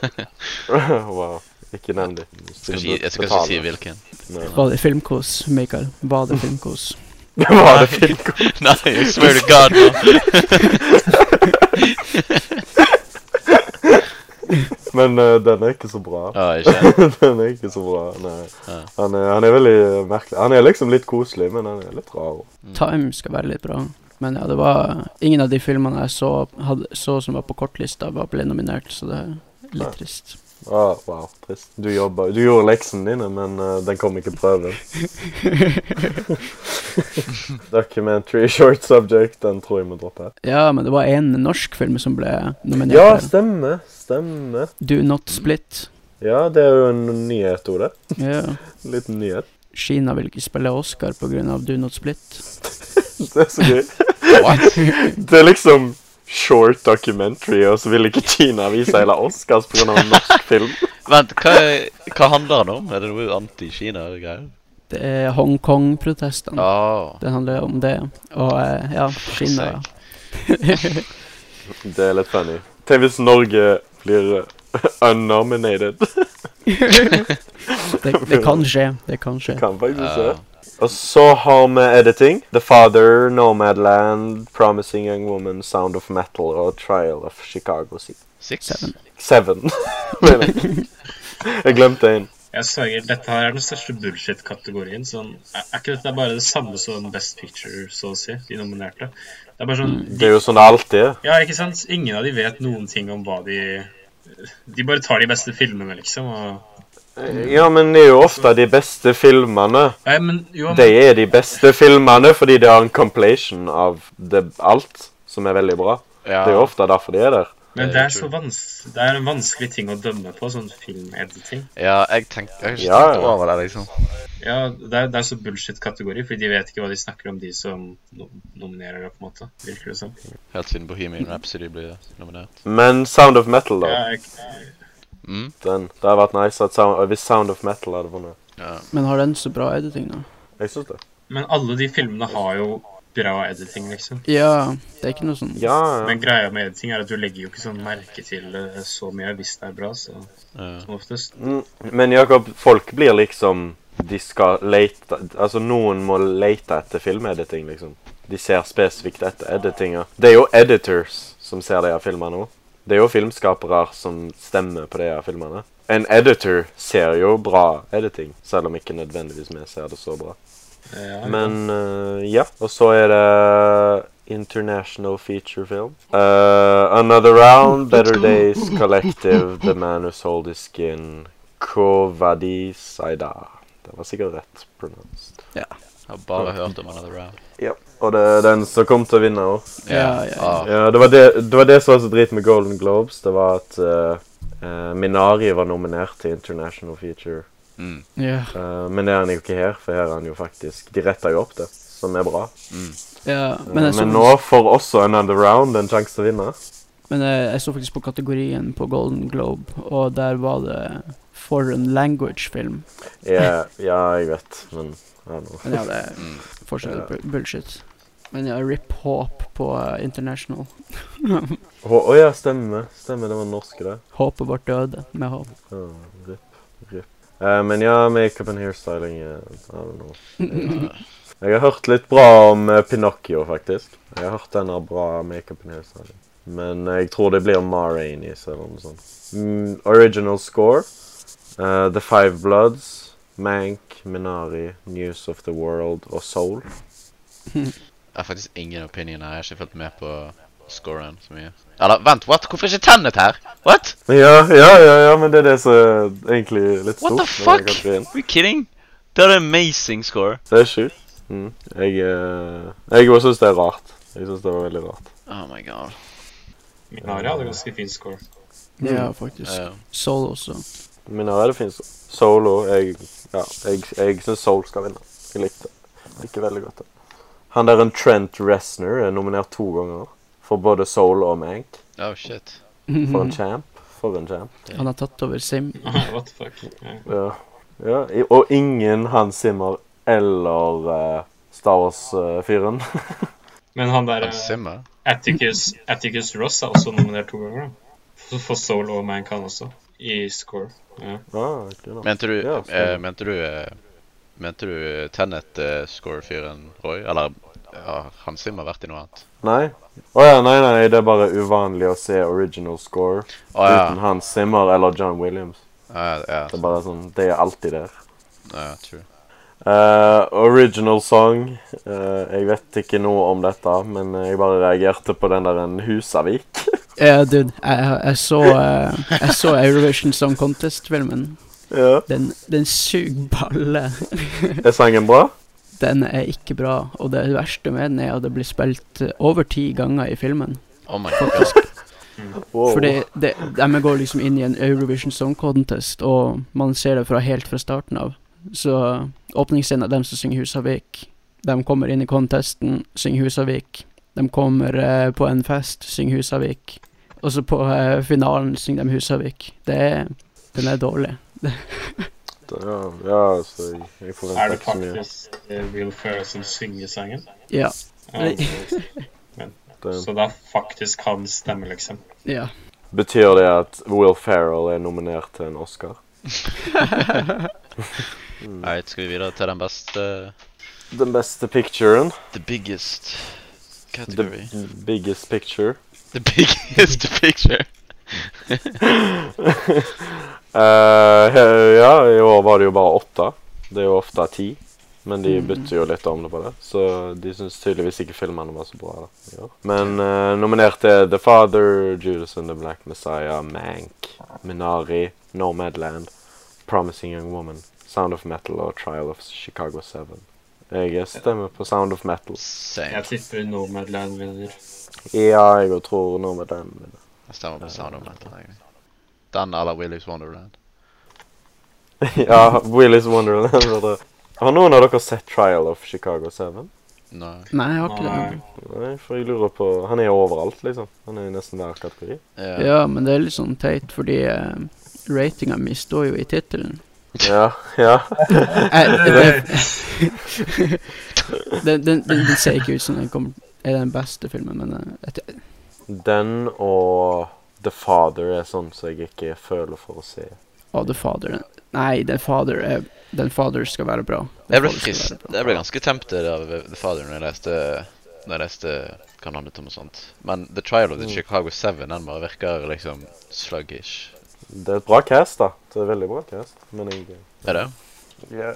[SPEAKER 1] wow. Ikke nevn det.
[SPEAKER 4] jeg skal ikke si hvilken.
[SPEAKER 2] Var det filmkos, Mikael? Var det filmkos?
[SPEAKER 1] Var det fint?
[SPEAKER 4] Nei, I swear to God. nå.
[SPEAKER 1] Men eh, den er ikke så bra.
[SPEAKER 4] Ja, ikke.
[SPEAKER 1] den er ikke så bra, nei.
[SPEAKER 4] Ja.
[SPEAKER 1] Han er, han er veldig merkelig. Han er liksom litt koselig, men han er litt rar.
[SPEAKER 2] Time skal være litt bra. Men ja, det var ingen av de filmene jeg så, hadde, så som var på kortlista, var ble nominert, så det er
[SPEAKER 1] Nei.
[SPEAKER 2] litt trist.
[SPEAKER 1] Ah, wow, trist. Du, jobba, du gjorde leksene dine, men eh, den kom ikke på prøven. Documentary short subject, den tror jeg må droppe.
[SPEAKER 2] Ja, men det var en norsk film som ble nominert.
[SPEAKER 1] Ja,
[SPEAKER 2] der.
[SPEAKER 1] stemme, stemme.
[SPEAKER 2] Do Not Split.
[SPEAKER 1] Ja, det er jo en nyhet, Ole.
[SPEAKER 2] Ja.
[SPEAKER 1] Liten nyhet.
[SPEAKER 2] Kina vil ikke spille Oscar pga. Do Not Split.
[SPEAKER 1] Det er så gøy.
[SPEAKER 4] What?
[SPEAKER 1] Det er liksom short documentary, og så vil ikke Kina vise hele Oscars pga. norsk film.
[SPEAKER 4] Vent, hva, hva handler den om? Er det noe anti-Kina-greier?
[SPEAKER 2] Det er Hongkong-protestene.
[SPEAKER 4] Oh.
[SPEAKER 2] Det handler om det. Og eh, ja, Kina
[SPEAKER 1] Det er litt funny. Tenk hvis Norge blir eh, unnominated.
[SPEAKER 2] det, det kan skje. Det kan skje.
[SPEAKER 1] Kan faktisk skje.
[SPEAKER 4] Ja.
[SPEAKER 1] Og så har vi editing. The Father, Nomadland, Promising Young Woman, Sound of Metal og Trial of Chicago Sea.
[SPEAKER 4] Six?
[SPEAKER 2] Seven.
[SPEAKER 1] Seven, mener jeg. Jeg glemte en.
[SPEAKER 3] Jeg sverger, dette her er den største bullshit-kategorien. Sånn, er er ikke dette bare det samme som Best Picture, så å si, de nominerte? Det er bare sånn
[SPEAKER 1] Det er jo sånn det alltid er.
[SPEAKER 3] Ja, ikke sant? Ingen av de vet noen ting om hva de De bare tar de beste filmene, liksom. Og...
[SPEAKER 1] Ja, men det er jo ofte de beste filmene.
[SPEAKER 3] Nei, men jo,
[SPEAKER 1] De er de beste filmene fordi det er en compilation av det, alt som er veldig bra.
[SPEAKER 4] Ja.
[SPEAKER 1] Det er jo ofte derfor de er der.
[SPEAKER 3] men det er så vanskelig Det er en vanskelig ting å dømme på, sånn filmediting.
[SPEAKER 4] Ja, jeg tenkte Jeg har ikke
[SPEAKER 1] Ja,
[SPEAKER 4] tenkt
[SPEAKER 1] ja.
[SPEAKER 4] over det, liksom.
[SPEAKER 3] Ja, det er, det er så bullshit-kategori, fordi de vet ikke hva de snakker om, de som no nominerer det, på en måte. Virker det som.
[SPEAKER 4] Helt siden Bohemian Rhapsody ble nominert.
[SPEAKER 1] Men Sound of Metal, da.
[SPEAKER 3] Ja, jeg, jeg,
[SPEAKER 4] Mm?
[SPEAKER 1] Den, det hadde vært nice at sound, hvis Sound of Metal hadde vunnet.
[SPEAKER 4] Ja.
[SPEAKER 2] Men har den så bra editing, da?
[SPEAKER 1] Jeg syns det.
[SPEAKER 3] men alle de filmene har jo bra editing, liksom.
[SPEAKER 2] Ja, det er ikke noe sånn
[SPEAKER 1] Ja, ja.
[SPEAKER 3] Men greia med editing er at du legger jo ikke sånn merke til eh, så mye hvis det er bra, så
[SPEAKER 4] ja.
[SPEAKER 3] som oftest.
[SPEAKER 1] Mm, Men Jakob, folk blir liksom De skal lete Altså, noen må lete etter filmediting, liksom. De ser spesifikt etter editinga. Det er jo editors som ser de her filmene nå. Det er jo filmskapere som stemmer på de her filmene. En editor ser jo bra editing, selv om ikke nødvendigvis vi ser det så bra.
[SPEAKER 3] Eh, Ja,
[SPEAKER 1] Men eh, ja. Og så er det International Feature Film. Eh, Another Round, Better Days, Collective, The Man Who Sold His Skin, Kovadi Saida. Det var sikkert rett pronounced.
[SPEAKER 4] Jeg har bare hørt om Another Round.
[SPEAKER 1] Ja. Og det er den som kom til å vinne òg.
[SPEAKER 2] Ja, ja, ja.
[SPEAKER 4] Ah.
[SPEAKER 1] Ja, det var det, det var det som var så drit med Golden Globes. Det var at eh, eh, Minari var nominert til International Feature.
[SPEAKER 4] Mm.
[SPEAKER 2] Ja,
[SPEAKER 1] Eh, men det er han jo ikke her, for her er han jo faktisk De retta jo opp det, som er bra.
[SPEAKER 4] mm,
[SPEAKER 2] ja. Men,
[SPEAKER 1] Eh, Men,
[SPEAKER 2] jeg så,
[SPEAKER 1] nå får også Another Round en sjanse til å vinne.
[SPEAKER 2] eh, men jeg, jeg så faktisk på kategorien på Golden Globe, og der var det f- foreign language-film.
[SPEAKER 1] Ja, ja, jeg vet, men I don't know.
[SPEAKER 2] Men ja, det er
[SPEAKER 4] Mm.
[SPEAKER 2] fortsatt
[SPEAKER 1] Ja.
[SPEAKER 2] bu- bullshit. Men ja, Rip Håp på eh, International.
[SPEAKER 1] Å å ja, stemmer. Stemmer, det var norsk, det.
[SPEAKER 2] Håpet vårt døde med håp.
[SPEAKER 1] Ja, Ripp. Ripp. Eh, men ja, makeup and hairstyling eh, I don't know.
[SPEAKER 4] Mm.
[SPEAKER 1] Jeg har hørt litt bra om eh, Pinocchio, faktisk. Jeg har hørt den har bra makeup and hairstyling. Men eh, jeg tror det blir Ma Rainey's eller noe sånt. Mm, original score. eh, the Five Bloods. Mank, Minari, News of the World og Soul.
[SPEAKER 4] Jeg har faktisk ingen opinion her. Jeg har ikke fulgt med på scoren så mye. Eller vent, what? Hvorfor er ikke Tennet her? What?
[SPEAKER 1] Ja, ja, ja, ja, men det er det som er egentlig litt
[SPEAKER 4] What
[SPEAKER 1] stort.
[SPEAKER 4] the
[SPEAKER 1] med
[SPEAKER 4] fuck?
[SPEAKER 1] den kategorien.
[SPEAKER 4] Are you kidding? Det er en amazing score.
[SPEAKER 1] Det er sjukt. Mm. Jeg, eh, jeg også syns det er rart. Jeg syns det var veldig rart.
[SPEAKER 4] Oh my god.
[SPEAKER 3] Minari hadde ganske fin score.
[SPEAKER 2] Ja, faktisk.
[SPEAKER 4] Eh,
[SPEAKER 2] Soul også.
[SPEAKER 1] Men ja, det finnes solo. Jeg, ja, jeg, jeg syns Soul skal vinne. Jeg likte det. Liker veldig godt det. Han der en Trent Reznor er nominert to ganger. For både Soul og Mank.
[SPEAKER 4] oh shit.
[SPEAKER 1] For
[SPEAKER 4] Mhm.
[SPEAKER 1] en champ. For en champ.
[SPEAKER 2] Han har tatt over Sim.
[SPEAKER 3] What the fuck? Ja.
[SPEAKER 1] Ja. Ja, i- og ingen Hans Zimmer eller eh, Star eh, Wars-fyren.
[SPEAKER 3] Men han der
[SPEAKER 4] Hans
[SPEAKER 3] eh,
[SPEAKER 4] Zimmer?
[SPEAKER 3] Atticus, Atticus Ross er også nominert to ganger. da. For- For Soul og Mankind også, i score. Ja.
[SPEAKER 1] ah, ikke noe.
[SPEAKER 4] Mente du,
[SPEAKER 1] Ja,
[SPEAKER 4] eh,
[SPEAKER 1] stemmer.
[SPEAKER 4] mente du, eh, mente du eh, Tennet-score-fyren Roy? Eller har Hans Zimmer vært i noe annet?
[SPEAKER 1] nei. Å ja, nei, nei, det er bare uvanlig å se original score
[SPEAKER 4] Å ja.
[SPEAKER 1] uten Hans Zimmer eller John Williams.
[SPEAKER 4] Ja, ja,
[SPEAKER 1] Det er bare sånn, det er alltid der.
[SPEAKER 4] ja, true.
[SPEAKER 1] Eh, original song. Eh, jeg vet ikke noe om dette, men jeg bare reagerte på den der en Husavik.
[SPEAKER 2] Ja, dude, jeg, jeg, så, eh, jeg så Eurovision Song Contest-filmen.
[SPEAKER 1] ja.
[SPEAKER 2] Den, den suger balle.
[SPEAKER 1] Er sangen bra?
[SPEAKER 2] Den er ikke bra, og det verste med den er at det blir spilt eh, over ti ganger i filmen.
[SPEAKER 4] Oh my god.
[SPEAKER 1] Wow.
[SPEAKER 2] Fordi det, de går liksom inn i en Eurovision Song Contest, og man ser det fra helt fra starten av. Så åpningsscenen av dem som synger Husavik, de kommer inn i contesten, synger Husavik. De kommer eh, på en fest, synger Husavik. Og så på eh, finalen synger de Husavik. Det er, den er dårlig.
[SPEAKER 1] Ja, ja, så jeg, jeg
[SPEAKER 3] Er
[SPEAKER 1] forventer
[SPEAKER 3] det
[SPEAKER 1] ikke så mye.
[SPEAKER 3] faktisk eh, Will Ferrell som synger sangen?
[SPEAKER 2] Ja.
[SPEAKER 3] Ja,
[SPEAKER 2] Nei.
[SPEAKER 1] Det, eh,
[SPEAKER 3] så det er faktisk hans stemme, liksom.
[SPEAKER 2] ja.
[SPEAKER 1] betyr det at Will Ferrell er nominert til en Oscar?
[SPEAKER 4] Alright, skal vi videre til den beste
[SPEAKER 1] Den beste picturen.
[SPEAKER 4] The biggest
[SPEAKER 1] The
[SPEAKER 4] category.
[SPEAKER 1] biggest picture.
[SPEAKER 4] The biggest picture.
[SPEAKER 1] Eh, he- ja, i år var det jo bare åtte. Det er jo ofte ti. Men de bytter jo litt om det på det, så de syns tydeligvis ikke filmene var så bra. da. i år. Men eh, nominert er The Father, Judas and the Black Messiah, Mank, Minari, Nomadland, Promising Young Woman, Sound of Metal og Trial of Chicago 7. Jeg stemmer på Sound of Metal.
[SPEAKER 4] Same.
[SPEAKER 3] Jeg tipper Nomadland vinner.
[SPEAKER 1] Ja, jeg òg tror Nomadland vinner.
[SPEAKER 4] Jeg stemmer på Sound of Metal. egentlig. Den eller Willy's Wonderland.
[SPEAKER 1] ja, Willy's Wonderland. var det. Har noen av dere sett Trial of Chicago 7?
[SPEAKER 4] Nei.
[SPEAKER 2] Nei, jeg har ikke
[SPEAKER 3] Nei.
[SPEAKER 2] det.
[SPEAKER 1] Nei, for jeg lurer på Han er jo overalt, liksom. Han er i nesten hver kategori.
[SPEAKER 4] Ja.
[SPEAKER 2] Ja, men det er litt sånn teit, fordi eh, ratinga mi står jo i tittelen.
[SPEAKER 1] Ja, ja.
[SPEAKER 2] Eh, det- den, den, den, den ser ikke ut som den kommer, er den beste filmen, men eh, jeg t-
[SPEAKER 1] Den og The Father er sånn som jeg ikke føler for å se.
[SPEAKER 2] Å, The Father den- Nei, The Father er, Den Father skal være bra. Den
[SPEAKER 4] Jeg ble
[SPEAKER 2] Father skal
[SPEAKER 4] frist.
[SPEAKER 2] være bra.
[SPEAKER 4] Jeg ble ganske tempted av eh, The Father når jeg leste når jeg leste hva han handlet om og sånt. Men The Trial of the
[SPEAKER 1] Mm.
[SPEAKER 4] Chicago Seven den bare virker liksom sluggish.
[SPEAKER 1] Det er et bra cast, da. Det er et veldig bra cast. Men jeg
[SPEAKER 4] Er det?
[SPEAKER 1] ja.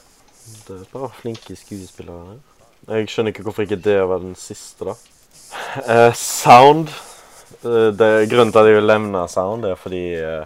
[SPEAKER 1] Det er bare eh, flinke skuespillere. her. Jeg skjønner ikke hvorfor ikke det var den siste, da. Eh, sound. Eh, det, grunnen til at jeg vil levne Sound, er fordi eh,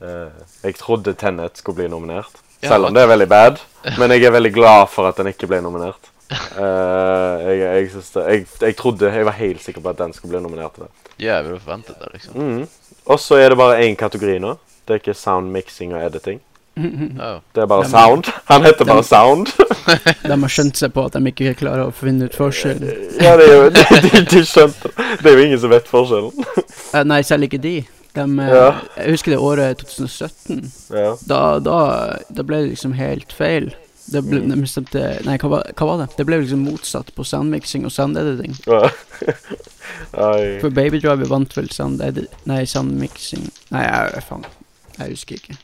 [SPEAKER 1] eh, jeg trodde Tennet skulle bli nominert.
[SPEAKER 4] Ja,
[SPEAKER 1] Selv om det er veldig bad. Men jeg er veldig glad for at den ikke ble nominert. Eh, jeg, jeg, synes det, jeg, jeg trodde, jeg var helt sikker på at den skulle bli nominert til det.
[SPEAKER 4] Ja, jeg ville forventet det, liksom.
[SPEAKER 1] Mhm. Og så er det bare én kategori nå. Det er ikke sound mixing og editing. Mm.
[SPEAKER 4] Oh.
[SPEAKER 1] Det er bare
[SPEAKER 2] Den-
[SPEAKER 1] sound. Han heter bare
[SPEAKER 2] den-
[SPEAKER 1] Sound.
[SPEAKER 2] De har skjønt seg på at de ikke klarer å finne ut forskjell.
[SPEAKER 1] ja, det er jo, de, de, de skjønte det. Det er jo ingen som vet forskjellen.
[SPEAKER 2] Eh, nei, selv ikke de. Dem, eh,
[SPEAKER 1] Ja.
[SPEAKER 2] Jeg husker det året 2017.
[SPEAKER 1] Ja.
[SPEAKER 2] Da, da, da ble det liksom helt feil. Det ble, de bestemte Nei, hva, var- hva var det? Det ble liksom motsatt på sandmiksing og sandediting.
[SPEAKER 1] Ja. Oi.
[SPEAKER 2] For Baby Driver vant vel sandedi... Nei, sandmiksing Nei, jeg, faen. Jeg husker ikke.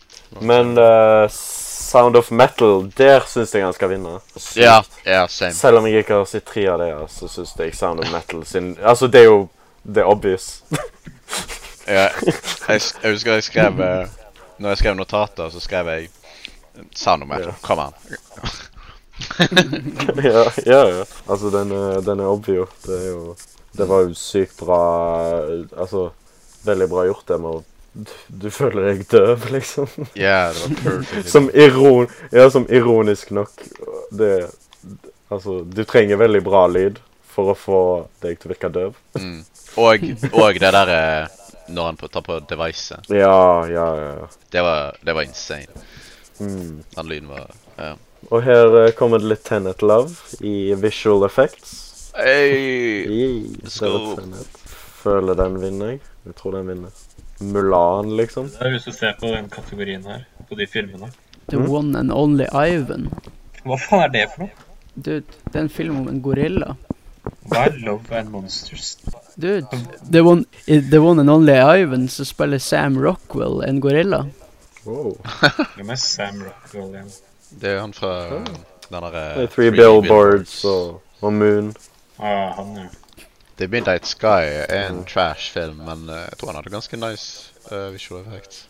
[SPEAKER 1] Men eh, Sound of Metal, der syns jeg han skal vinne. Sykt.
[SPEAKER 4] Ja, ja, same.
[SPEAKER 1] Selv om jeg ikke har sett tre av det, så syns jeg Sound of Metal sin Altså, det er jo Det er obvious.
[SPEAKER 4] Ja, jeg, s- jeg husker jeg skrev eh, Når jeg skrev notater, så skrev jeg Sound of Metal.
[SPEAKER 1] Ja.
[SPEAKER 4] Kom an.
[SPEAKER 1] ja, ja, ja. Altså, den er, den er obvio. Det er jo Det var jo sykt bra Altså, veldig bra gjort, det med å du- Du føler deg døv, liksom.
[SPEAKER 4] Ja, det var perfect.
[SPEAKER 1] Som, iron, ja, som ironisk nok det, Altså, du trenger veldig bra lyd for å få deg til å virke døv.
[SPEAKER 4] Mm. Og, og det derre Når han på- tar på devicet.
[SPEAKER 1] Ja, ja, ja. ja.
[SPEAKER 4] Det var, det var insane.
[SPEAKER 1] Mm.
[SPEAKER 4] Den lyden var ja.
[SPEAKER 1] Og her eh, kommer det litt Tenet Love i visual effects.
[SPEAKER 4] Hey!
[SPEAKER 1] Yay,
[SPEAKER 4] Let's
[SPEAKER 1] det er
[SPEAKER 4] go.
[SPEAKER 1] Tenet. Føler den vinner jeg. Jeg tror den vinner. Mulan, liksom.
[SPEAKER 3] Det er Hvis du ser på den kategorien her, på de filmene
[SPEAKER 2] The One and Only Ivan.
[SPEAKER 3] Hva faen er det for noe?
[SPEAKER 2] Dude, det er en film om en gorilla.
[SPEAKER 3] Hva er Love and Monsters?
[SPEAKER 2] Dude, The One, i the one and Only Ivan så spiller Sam Rockwell en gorilla.
[SPEAKER 1] Wow.
[SPEAKER 3] Hvem er Sam Rockwell igjen?
[SPEAKER 4] Det er han fra den eh, derre
[SPEAKER 1] Det er Three Billboards og, og Moon.
[SPEAKER 3] Ah, han, ja.
[SPEAKER 4] The Midnight Sky er en trash-film, men eh, jeg tror han hadde ganske nice eh, visual effects.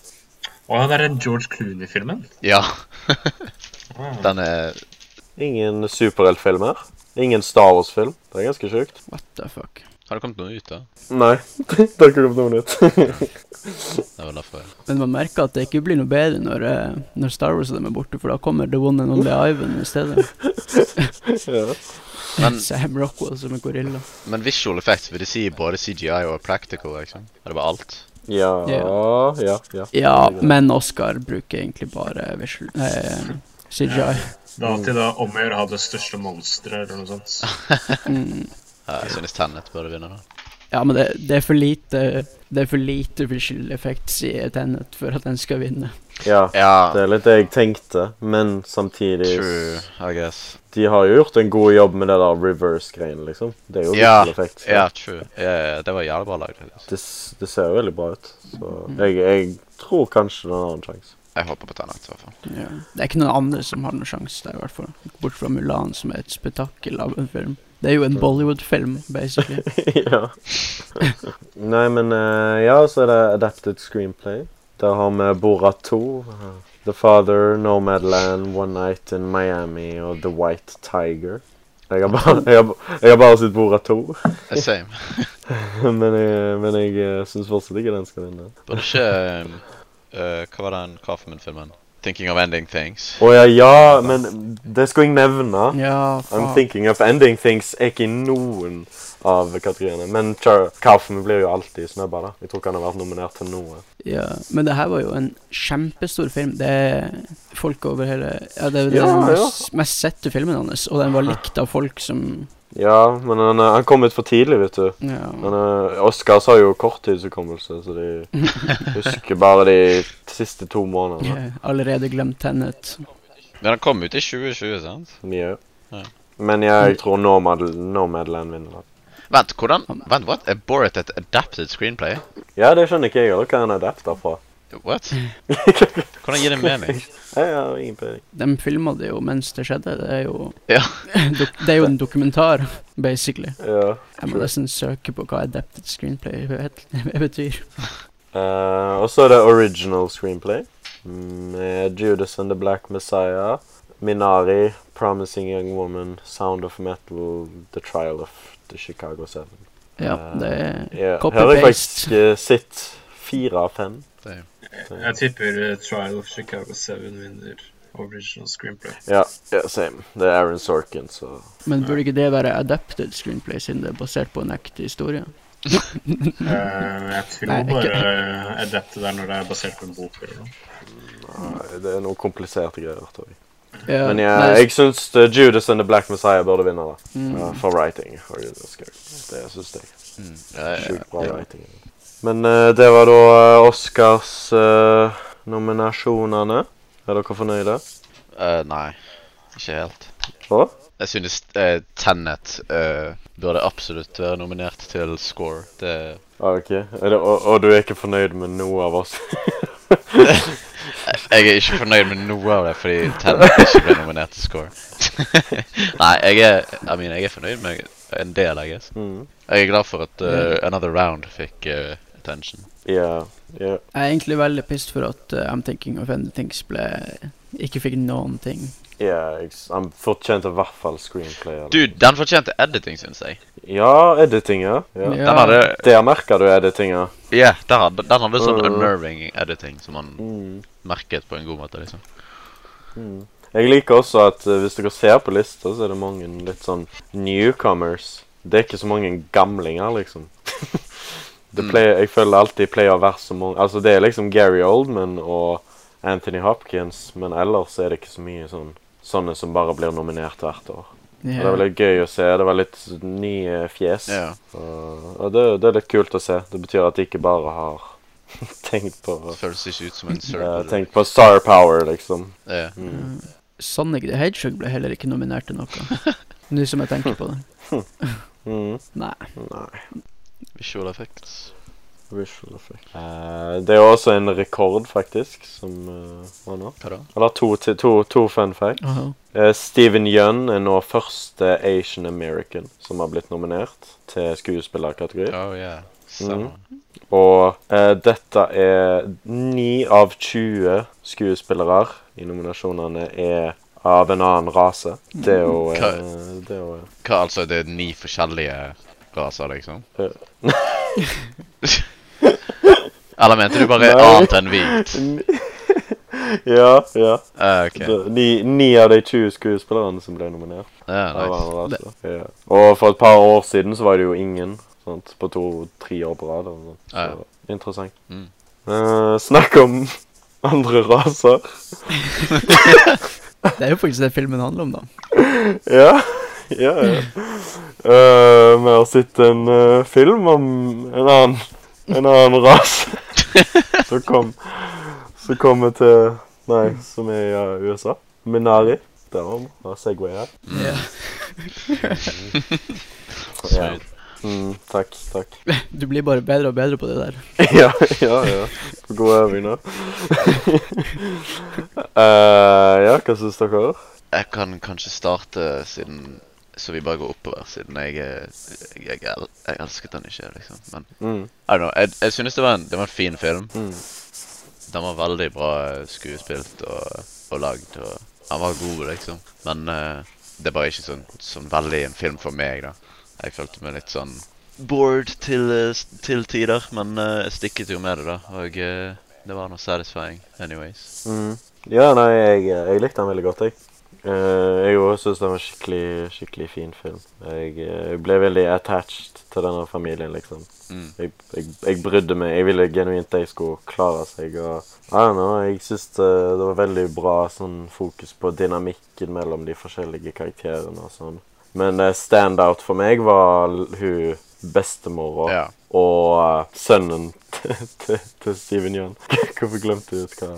[SPEAKER 3] Å, det er den George Clooney-filmen?
[SPEAKER 4] Ja.
[SPEAKER 3] Ah.
[SPEAKER 4] den er
[SPEAKER 1] Ingen superheltfilmer. Ingen Star Wars-film. Det er ganske sjukt.
[SPEAKER 2] What the fuck.
[SPEAKER 4] Har det kommet noe ut, da?
[SPEAKER 1] Nei, det har ikke kommet noe nytt.
[SPEAKER 4] Det var derfor.
[SPEAKER 2] Men man merker at det ikke blir noe bedre når, eh, når Star Wars og dem er borte, for da kommer The One and Only Ivan i stedet.
[SPEAKER 1] ja.
[SPEAKER 4] Men,
[SPEAKER 2] Sam Rockwell som en gorilla.
[SPEAKER 4] men visual effects vil det si både CGI og practical, liksom? Er det bare alt?
[SPEAKER 1] Ja, ja, ja.
[SPEAKER 2] Ja, men Oscar bruker egentlig bare visual, eh, CGI.
[SPEAKER 3] Da til da om å gjøre å ha det største monsteret, eller noe sånt.
[SPEAKER 2] Mm.
[SPEAKER 4] Ja, jeg synes Tenet burde vinne, da.
[SPEAKER 2] Ja, men det, det er for lite Det er for lite visual effects i Tenet for at den skal vinne.
[SPEAKER 1] ja. Det
[SPEAKER 4] Ja,
[SPEAKER 1] er litt det jeg tenkte, men samtidig
[SPEAKER 4] true, I guess.
[SPEAKER 1] De har jo gjort en god jobb med det der reverse-greien, liksom. Det er jo
[SPEAKER 4] Ja,
[SPEAKER 1] visual effects.
[SPEAKER 4] Ja, true. Ja, ja, det var jævlig bra lagd. faktisk.
[SPEAKER 1] Det, s- det ser jo veldig bra ut. Så jeg, jeg tror kanskje den har en sjanse.
[SPEAKER 4] Jeg håper på Tenet, i hvert fall.
[SPEAKER 2] Ja. Det er ikke noen andre som har noen sjanse der, i hvert fall. Bort fra Mulan, som er et spetakkel av en film. Det er jo en Bollywood-film, basically.
[SPEAKER 1] ja. Nei, men eh, ja, så er det adapted screenplay. Der har vi Borat 2. eh, The Father, Nomadland, One Night in Miami og The White Tiger. Jeg har bare, jeg har, ba- jeg har bare sett Borat 2,
[SPEAKER 4] Eh, Same.
[SPEAKER 1] men jeg, men jeg eh, syns fortsatt ikke den skal vinne.
[SPEAKER 4] Burde ikke um, eh, Hva var den Kaffemann-filmen? Thinking of Ending Things.
[SPEAKER 1] Å ja, ja, men det skulle jeg nevne.
[SPEAKER 2] Ja,
[SPEAKER 1] I'm
[SPEAKER 2] faen.
[SPEAKER 1] thinking of ending things er ikke i noen av kategoriene. Men Char Kaufman blir jo alltid snubba, da. Jeg tror ikke han har vært nominert til noe.
[SPEAKER 2] Ja. Men det her var jo en kjempestor film. Det er folk over hele Ja, det er
[SPEAKER 1] Ja,
[SPEAKER 2] den
[SPEAKER 1] ja.
[SPEAKER 2] mest, mest sette filmen hans, og den var likt av folk som
[SPEAKER 1] Ja, men han, eh, han kom ut for tidlig, vet du.
[SPEAKER 2] Ja.
[SPEAKER 1] Han, eh, Oscars har jo korttidshukommelse, så de husker bare de siste to månedene.
[SPEAKER 2] Jeg har Allerede glemt Tenet.
[SPEAKER 4] Men den kom ut i 2020, sant?
[SPEAKER 1] Mye.
[SPEAKER 4] Ja.
[SPEAKER 1] Men jeg tror Nomad, Nomadland vinner. da.
[SPEAKER 4] Vent, hvordan Vent, what? Er Borat et adapted screenplay?
[SPEAKER 1] Ja, det skjønner ikke jeg heller, hva han er adapta fra.
[SPEAKER 4] What? Hvordan gir det mening?
[SPEAKER 1] Jeg har ingen peiling.
[SPEAKER 2] De filma det jo mens det skjedde. Det er jo,
[SPEAKER 4] Ja.
[SPEAKER 2] dok- det er jo en dokumentar, basically.
[SPEAKER 1] Ja.
[SPEAKER 2] Jeg må
[SPEAKER 1] Sure.
[SPEAKER 2] nesten søke på hva adapted screenplay het- betyr.
[SPEAKER 1] Eh, og så er det original screenplay. Med Judas and the Black Messiah, Minari, Promising Young Woman, Sound of Metal, The Trial of the Chicago Seven.
[SPEAKER 2] Ja, det er
[SPEAKER 1] Ja,
[SPEAKER 2] Copy
[SPEAKER 1] Her har jeg
[SPEAKER 2] paste.
[SPEAKER 1] faktisk eh, sett fire av fem.
[SPEAKER 4] Damn.
[SPEAKER 3] Jeg tipper eh, Trial of Chicago 7 vinner original screenplay.
[SPEAKER 1] Ja, ja, same. Det er Aaron Sorkin, så
[SPEAKER 2] Men burde ikke det være adapted screenplay, siden det er basert på en ekte historie?
[SPEAKER 3] Eh, jeg tror
[SPEAKER 2] Nei, ikke-
[SPEAKER 3] bare eh, adapte der når det er basert på en bok eller noe.
[SPEAKER 1] Nei, det er noen kompliserte greier. tror jeg.
[SPEAKER 2] Ja,
[SPEAKER 1] Men
[SPEAKER 2] nei,
[SPEAKER 1] jeg, jeg syns eh, Judas and the Black Messiah burde vinne, da.
[SPEAKER 2] mm,
[SPEAKER 1] Ja, for writing. for Det skal- det syns jeg.
[SPEAKER 4] Mm. Ja, ja,
[SPEAKER 1] Sjukt bra
[SPEAKER 4] ja.
[SPEAKER 1] writing. Men eh, det var da eh, Oscars-nominasjonene. er dere fornøyde?
[SPEAKER 4] Eh, nei, ikke helt.
[SPEAKER 1] Hva?
[SPEAKER 4] Jeg synes eh, Tenet eh, burde absolutt være nominert til score. Det
[SPEAKER 1] Ah, ok. Er det, og, og du er ikke fornøyd med noe av oss?
[SPEAKER 4] Jeg er ikke fornøyd med noe av det fordi Tenet ikke ble nominert til score. nei, jeg er I mean, jeg er fornøyd med en del, I guess.
[SPEAKER 1] mm.
[SPEAKER 4] Jeg er glad for at eh, Another Round fikk eh, attention.
[SPEAKER 1] Ja. ja.
[SPEAKER 2] Jeg er egentlig veldig pissed for at eh, I'm Thinking of Ending Things ble ikke fikk noen ting.
[SPEAKER 1] Ja, jeg s- han fortjente i hvert fall screenplay. eller-
[SPEAKER 4] Dude, den fortjente editing, synes jeg.
[SPEAKER 1] Ja, editinger. Ja.
[SPEAKER 2] Ja.
[SPEAKER 4] Den hadde
[SPEAKER 1] Der merker du editinger.
[SPEAKER 4] Ja, den hadde, den hadde sånn
[SPEAKER 1] Mm.
[SPEAKER 4] unnerving editing som man
[SPEAKER 1] Mm.
[SPEAKER 4] merket på en god måte, liksom.
[SPEAKER 1] Mm. Jeg liker også at eh, hvis dere ser på lista, så er det mange litt sånn newcomers. Det er ikke så mange gamlinger, liksom. det
[SPEAKER 4] Mm.
[SPEAKER 1] pleier, jeg føler alltid pleier å være så mange Altså, det er liksom Gary Oldman og Anthony Hopkins, men ellers er det ikke så mye sånn sånne som bare blir nominert hvert år. Og Det var litt gøy å se. Det var litt nye fjes.
[SPEAKER 4] Ja.
[SPEAKER 1] Og, og det, det er litt kult å se. Det betyr at de ikke bare har tenkt på
[SPEAKER 4] Det føles ikke ut som en
[SPEAKER 1] eh,
[SPEAKER 4] circle.
[SPEAKER 1] Tenkt på star power, liksom.
[SPEAKER 4] Ja.
[SPEAKER 1] Mm.
[SPEAKER 2] Sonic the Hedgehog ble heller ikke nominert til noe. Nå som jeg tenker på det.
[SPEAKER 1] Mm.
[SPEAKER 2] Nei.
[SPEAKER 1] Nei.
[SPEAKER 4] Visual effects.
[SPEAKER 1] Visual effect. Eh, det er jo også en rekord, faktisk, som eh, var nå.
[SPEAKER 4] Hva da?
[SPEAKER 1] Eller to, til- to, to fun facts.
[SPEAKER 2] Aha.
[SPEAKER 1] Eh, Steven Yeun er nå første Asian American som har blitt nominert til skuespillerkategori.
[SPEAKER 4] Oh, yeah. Stemmer.
[SPEAKER 1] Og eh, dette er 9 av 20 skuespillere i nominasjonene er av en annen rase. Det er jo eh,
[SPEAKER 4] Hva-
[SPEAKER 1] Det er jo
[SPEAKER 4] Hva altså, det er ni forskjellige raser, liksom?
[SPEAKER 1] Ja.
[SPEAKER 4] Eller mente du bare
[SPEAKER 1] Nei.
[SPEAKER 4] annet enn hvit?
[SPEAKER 1] Ja, ja.
[SPEAKER 4] Eh, ok.
[SPEAKER 1] Det- Ni, ni av de 20 skuespillerne som ble nominert.
[SPEAKER 4] Ja,
[SPEAKER 1] Av
[SPEAKER 4] nice.
[SPEAKER 1] annen rase. Ja. Og for et par år siden så var det jo ingen. Sant? På to-tre år på rad. eller noe sånt.
[SPEAKER 4] Ah, Ja.
[SPEAKER 1] Så interessant.
[SPEAKER 4] Mm.
[SPEAKER 1] Eh, snakk om andre raser.
[SPEAKER 2] Det er jo faktisk det filmen handler om, da.
[SPEAKER 1] Ja, ja, ja. Eh, Vi har sett en eh, film om en annen, en annen rase som kom Som kommer til Nei, som er i eh, USA. Minari. Der var den. Bra Segway her.
[SPEAKER 2] Ja.
[SPEAKER 1] Ja.
[SPEAKER 4] Smooth.
[SPEAKER 1] Mm, takk, takk.
[SPEAKER 2] Du blir bare bedre og bedre på det der.
[SPEAKER 1] ja, ja, ja. For god øving nå. Eh, ja, hva syns dere?
[SPEAKER 4] Jeg kan kanskje starte siden Så vi bare går oppover, siden jeg eh, Jeg, jeg, el- jeg elsket den ikke, liksom. Men
[SPEAKER 1] Mm,
[SPEAKER 4] I don't know. Jeg, jeg synes det var en, det var en fin film.
[SPEAKER 1] mm,
[SPEAKER 4] Den var veldig bra eh, skuespilt og, og lagd. og Han var god, liksom. Men eh, det var ikke sånn, sånn veldig en film for meg, da. Jeg følte meg litt sånn bored til, eh, s- til tider, men eh, jeg stikket jo med det, da. Og eh, det var noe satisfying anyways.
[SPEAKER 1] mm. Ja, nei, jeg, jeg likte den veldig godt, jeg. Eh, jeg òg syns den var skikkelig, skikkelig fin film. Jeg, eh, jeg ble veldig attached til denne familien, liksom.
[SPEAKER 4] Mm.
[SPEAKER 1] Jeg, jeg, jeg brydde meg. Jeg ville genuint de skulle klare seg. og I don't know, Jeg syns det, det var veldig bra sånn fokus på dynamikken mellom de forskjellige karakterene. og sånn. Men eh, standout for meg var l- hun bestemora
[SPEAKER 4] Ja.
[SPEAKER 1] og eh, sønnen til, til, til Steven Yeun. Hvorfor glemte jeg ut hva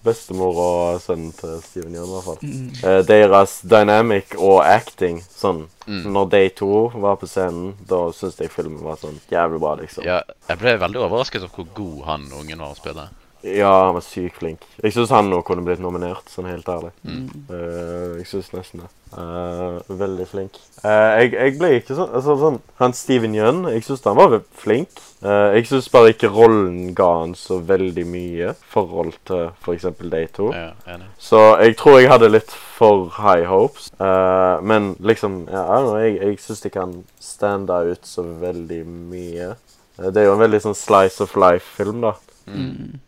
[SPEAKER 1] Bestemor og sønnen til Steven Yeun, i hvert fall.
[SPEAKER 2] Mm.
[SPEAKER 1] Eh, deres dynamic og acting sånn
[SPEAKER 4] Mm.
[SPEAKER 1] Når de to var på scenen, da syns jeg filmen var sånn jævlig bra, liksom.
[SPEAKER 4] Ja, jeg ble veldig overrasket over hvor god han ungen var å spille.
[SPEAKER 1] Ja, han var sykt flink. Jeg syns han nå kunne blitt nominert, sånn helt ærlig.
[SPEAKER 2] Mm.
[SPEAKER 1] Eh, jeg syns nesten det. Eh, veldig flink. Eh, jeg, jeg ble ikke sånn, altså, sånn Han Steven Yeun, jeg syns han var flink. Eh, jeg syns bare ikke rollen ga han så veldig mye i forhold til f.eks. de to.
[SPEAKER 4] Ja, enig.
[SPEAKER 1] Så jeg tror jeg hadde litt for high hopes. Eh, men liksom ja, I don't know, Jeg, jeg syns de kan stande ut så veldig mye. Eh, det er jo en veldig sånn slice of life-film, da.
[SPEAKER 2] Mm.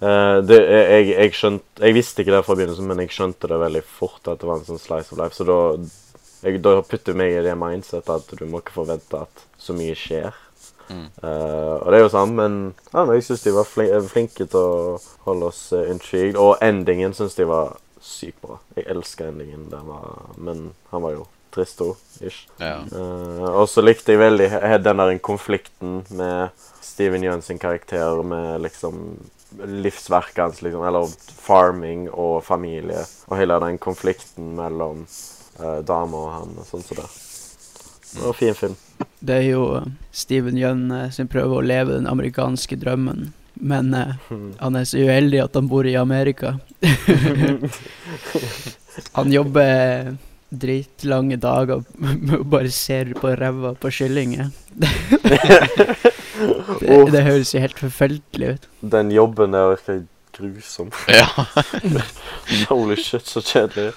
[SPEAKER 1] Eh, det, jeg, jeg, skjønt, jeg visste ikke det fra begynnelsen, men jeg skjønte det veldig fort. at det var en sånn slice of life, Så da, jeg, da putter jeg meg i det mindset at du må ikke forvente at så mye skjer.
[SPEAKER 4] Mm.
[SPEAKER 1] Eh, og det er jo sant, men ja, men jeg syns de var flin eh, flinke til å holde oss eh, intrigued. Og endingen syns de var sykt bra. Jeg elsker endingen. Den var, men han var jo Tristo-ish.
[SPEAKER 4] Ja.
[SPEAKER 1] Eh, og så likte jeg veldig he- den der konflikten med Steven Yeun sin karakter med liksom livsverket hans, liksom, eller farming og familie, og hele den konflikten mellom uh, dama og han og sånn som det. Det var en fin film.
[SPEAKER 2] Det er jo eh, Steven Yeun eh, sin prøve å leve den amerikanske drømmen, men eh, han er så uheldig at han bor i Amerika. han jobber dritlange dager med å bare ser på ræva på kyllinger. det,
[SPEAKER 1] Uff.
[SPEAKER 2] det høres jo helt forferdelig ut.
[SPEAKER 1] Den jobben der virker grusom.
[SPEAKER 4] ja.
[SPEAKER 1] Holy shit, så kjedelig.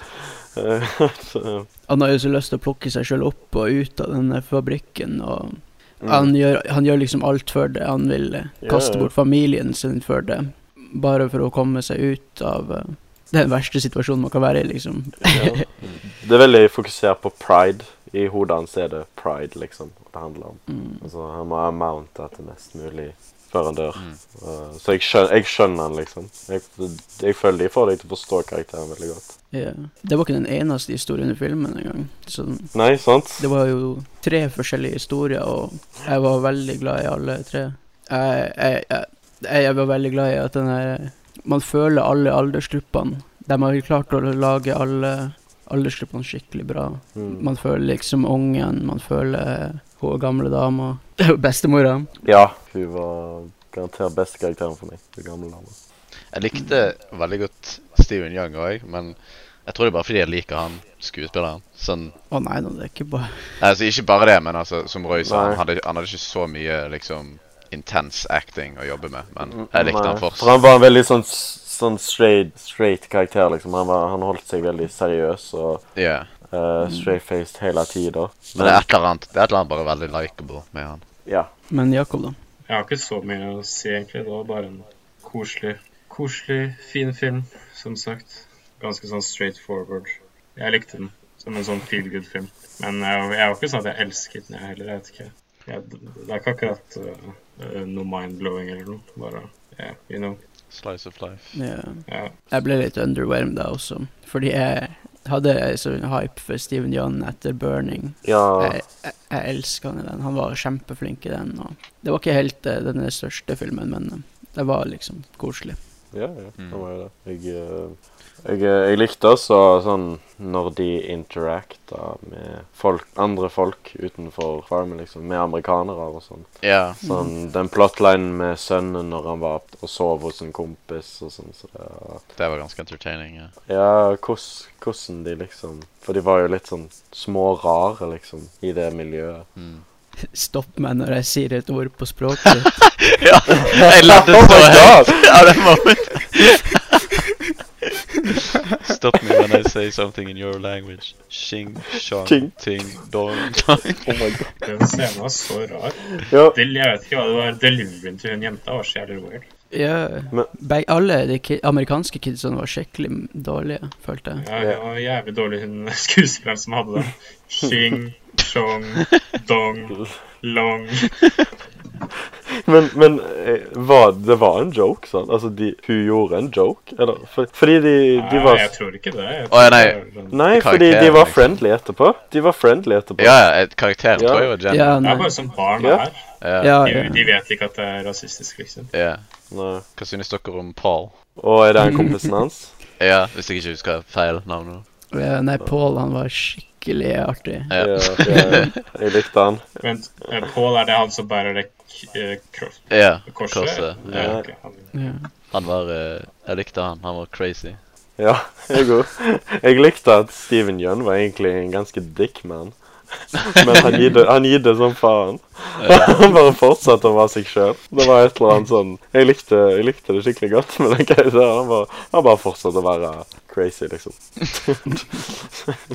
[SPEAKER 1] Eh, så,
[SPEAKER 2] Han har jo så lyst til å plukke seg sjøl opp og ut av denne fabrikken. og
[SPEAKER 1] mm.
[SPEAKER 2] han, gjør, han gjør liksom alt for det. Han vil eh,
[SPEAKER 1] Ja,
[SPEAKER 2] kaste
[SPEAKER 1] ja.
[SPEAKER 2] bort familien sin for det. Bare for å komme seg ut av eh, den verste situasjonen man kan være i, liksom.
[SPEAKER 1] Ja. Det er veldig fokusert på pride. I hodet hans er det pride, liksom, det handler om.
[SPEAKER 2] Mm.
[SPEAKER 1] Altså, han må ha mounta til mest mulig før han dør.
[SPEAKER 4] Mm.
[SPEAKER 1] Uh, så jeg skjønner, jeg skjønner han, liksom. Jeg, jeg føler de får deg til å forstå karakteren veldig godt.
[SPEAKER 2] Ja. Det var ikke den eneste historien i filmen engang. Så den-
[SPEAKER 1] Nei, sant?
[SPEAKER 2] Det var jo tre forskjellige historier, og jeg var veldig glad i alle tre. Jeg, jeg, jeg, jeg var veldig glad i at den her Man føler alle aldersgruppene. De har jo klart å lage alle aldersgruppene skikkelig bra.
[SPEAKER 1] Mm.
[SPEAKER 2] Man føler liksom ungen, man føler hun gamle dama. Bestemora.
[SPEAKER 1] Ja, hun var garantert beste karakteren for meg. Den gamle dama.
[SPEAKER 4] Jeg likte veldig godt Steven Young òg, men jeg tror det er bare fordi jeg liker han skuespilleren. Sånn,
[SPEAKER 2] Å nei da, det er ikke bare
[SPEAKER 4] altså Ikke bare det, men altså, som Roy sa,
[SPEAKER 1] Nei.
[SPEAKER 4] han hadde, han hadde ikke så mye liksom intens acting å jobbe med, men jeg likte
[SPEAKER 1] Mm, Nei,
[SPEAKER 4] han
[SPEAKER 1] For
[SPEAKER 4] fortsatt.
[SPEAKER 1] han var en veldig sånn, s- sånn straight, straight karakter, liksom. Han, var, han holdt seg veldig seriøs og
[SPEAKER 4] Ja.
[SPEAKER 1] uh, straight-faced hele tida.
[SPEAKER 4] Men det er et eller annet det er et eller annet bare veldig likable med han.
[SPEAKER 1] ja.
[SPEAKER 2] Men Jakob, da?
[SPEAKER 3] Jeg har ikke så mye å si, egentlig. Det var bare en koselig, koselig, fin film, som sagt. Ganske sånn straight forward. Jeg likte den som en sånn feel good-film. Men jeg, jeg var ikke sånn at jeg elsket den, jeg heller. Jeg vet ikke. Jeg, det er ikke akkurat øh, øh, noe mind-blowing eller noe. Bare yeah, you know.
[SPEAKER 4] Slice of life.
[SPEAKER 2] Ja.
[SPEAKER 3] Ja.
[SPEAKER 2] Jeg ble litt underwhelmed da også, fordi jeg hadde sånn hype for Steven Young etter 'Burning'.
[SPEAKER 1] ja.
[SPEAKER 2] Jeg, jeg, jeg elsker han i den. Han var kjempeflink i den. Og det var ikke helt eh, den største filmen, men eh, det var liksom koselig.
[SPEAKER 1] Ja, ja,
[SPEAKER 4] Mm.
[SPEAKER 1] det var jo det. Jeg, eh, jeg, eh, jeg likte også sånn når de interacta med folk, andre folk utenfor farmen, liksom, med amerikanere og sånn.
[SPEAKER 4] Ja.
[SPEAKER 1] Sånn, Den plotlinen med sønnen når han var opp- og sov hos en kompis og sånn. Så det,
[SPEAKER 4] Det var ganske entertaining. ja.
[SPEAKER 1] ja, hvordan, hvordan de liksom For de var jo litt sånn smårare, liksom, i det miljøet.
[SPEAKER 4] Mm.
[SPEAKER 2] Stopp meg når jeg sier et ord på språket ditt.
[SPEAKER 4] ja. Jeg lærte
[SPEAKER 1] Oh
[SPEAKER 4] så
[SPEAKER 1] my
[SPEAKER 4] høyt av den momenten. Stop me when I say something in your language. Shing, shong,
[SPEAKER 1] Ting.
[SPEAKER 4] ting, dong, dong.
[SPEAKER 1] Oh my god.
[SPEAKER 3] Den scenen var så rar.
[SPEAKER 1] Ja,
[SPEAKER 3] Del, jeg vet ikke hva det var. Deliveryen til hun jenta var så jævlig weird.
[SPEAKER 2] Ja.
[SPEAKER 1] Men-
[SPEAKER 2] Beg, alle de ki amerikanske kidsene var skikkelig dårlige, følte jeg.
[SPEAKER 3] Ja, det var jævlig dårlig hun skuespilleren som hadde den. Shing, chong, dong, long.
[SPEAKER 1] Men, men eh, var, det var en joke, sant? Altså, de, hun gjorde en joke? Eller, for, fordi de, de
[SPEAKER 3] Nei,
[SPEAKER 1] var
[SPEAKER 3] jeg tror ikke det. Jeg
[SPEAKER 4] Å,
[SPEAKER 3] tror
[SPEAKER 4] ja, nei.
[SPEAKER 3] det var sånn-
[SPEAKER 1] Nei,
[SPEAKER 4] Karakter,
[SPEAKER 1] fordi de var
[SPEAKER 4] liksom.
[SPEAKER 1] friendly etterpå. De var friendly etterpå.
[SPEAKER 4] Ja, ja, et- karakteren
[SPEAKER 1] Ja.
[SPEAKER 4] tror jeg var Jen.
[SPEAKER 2] Ja,
[SPEAKER 3] Det er
[SPEAKER 2] nei.
[SPEAKER 3] bare som barn
[SPEAKER 1] Ja.
[SPEAKER 3] er.
[SPEAKER 4] Ja.
[SPEAKER 2] Ja,
[SPEAKER 3] De,
[SPEAKER 2] ja.
[SPEAKER 3] de vet ikke at det er rasistisk, liksom.
[SPEAKER 4] ja.
[SPEAKER 1] Nei.
[SPEAKER 4] Hva synes dere om Paul?
[SPEAKER 1] Og er det en kompisen hans?
[SPEAKER 4] Ja, hvis jeg ikke husker feil navn nå.
[SPEAKER 2] Ja, Nei, Paul, han var skikkelig artig.
[SPEAKER 4] Ja.
[SPEAKER 1] Ja, ja, jeg likte han.
[SPEAKER 3] Vent, eh, Paul er det han som bærer det k- eh, kro-
[SPEAKER 4] Ja,
[SPEAKER 3] korset?
[SPEAKER 4] korset.
[SPEAKER 3] Ja,
[SPEAKER 1] Ja.
[SPEAKER 3] ok, han-
[SPEAKER 2] Ja.
[SPEAKER 4] Han var eh, Jeg likte han. Han var crazy.
[SPEAKER 1] Ja, jeg òg. Jeg likte at Steven Yeun var egentlig en ganske dick man. Men han gidde, han gidde som faen. Han bare fortsatte å være seg sjøl. Det var et eller annet sånn Jeg likte, jeg likte det skikkelig godt, men den karakteren, han bare, han bare fortsatte å være crazy, liksom.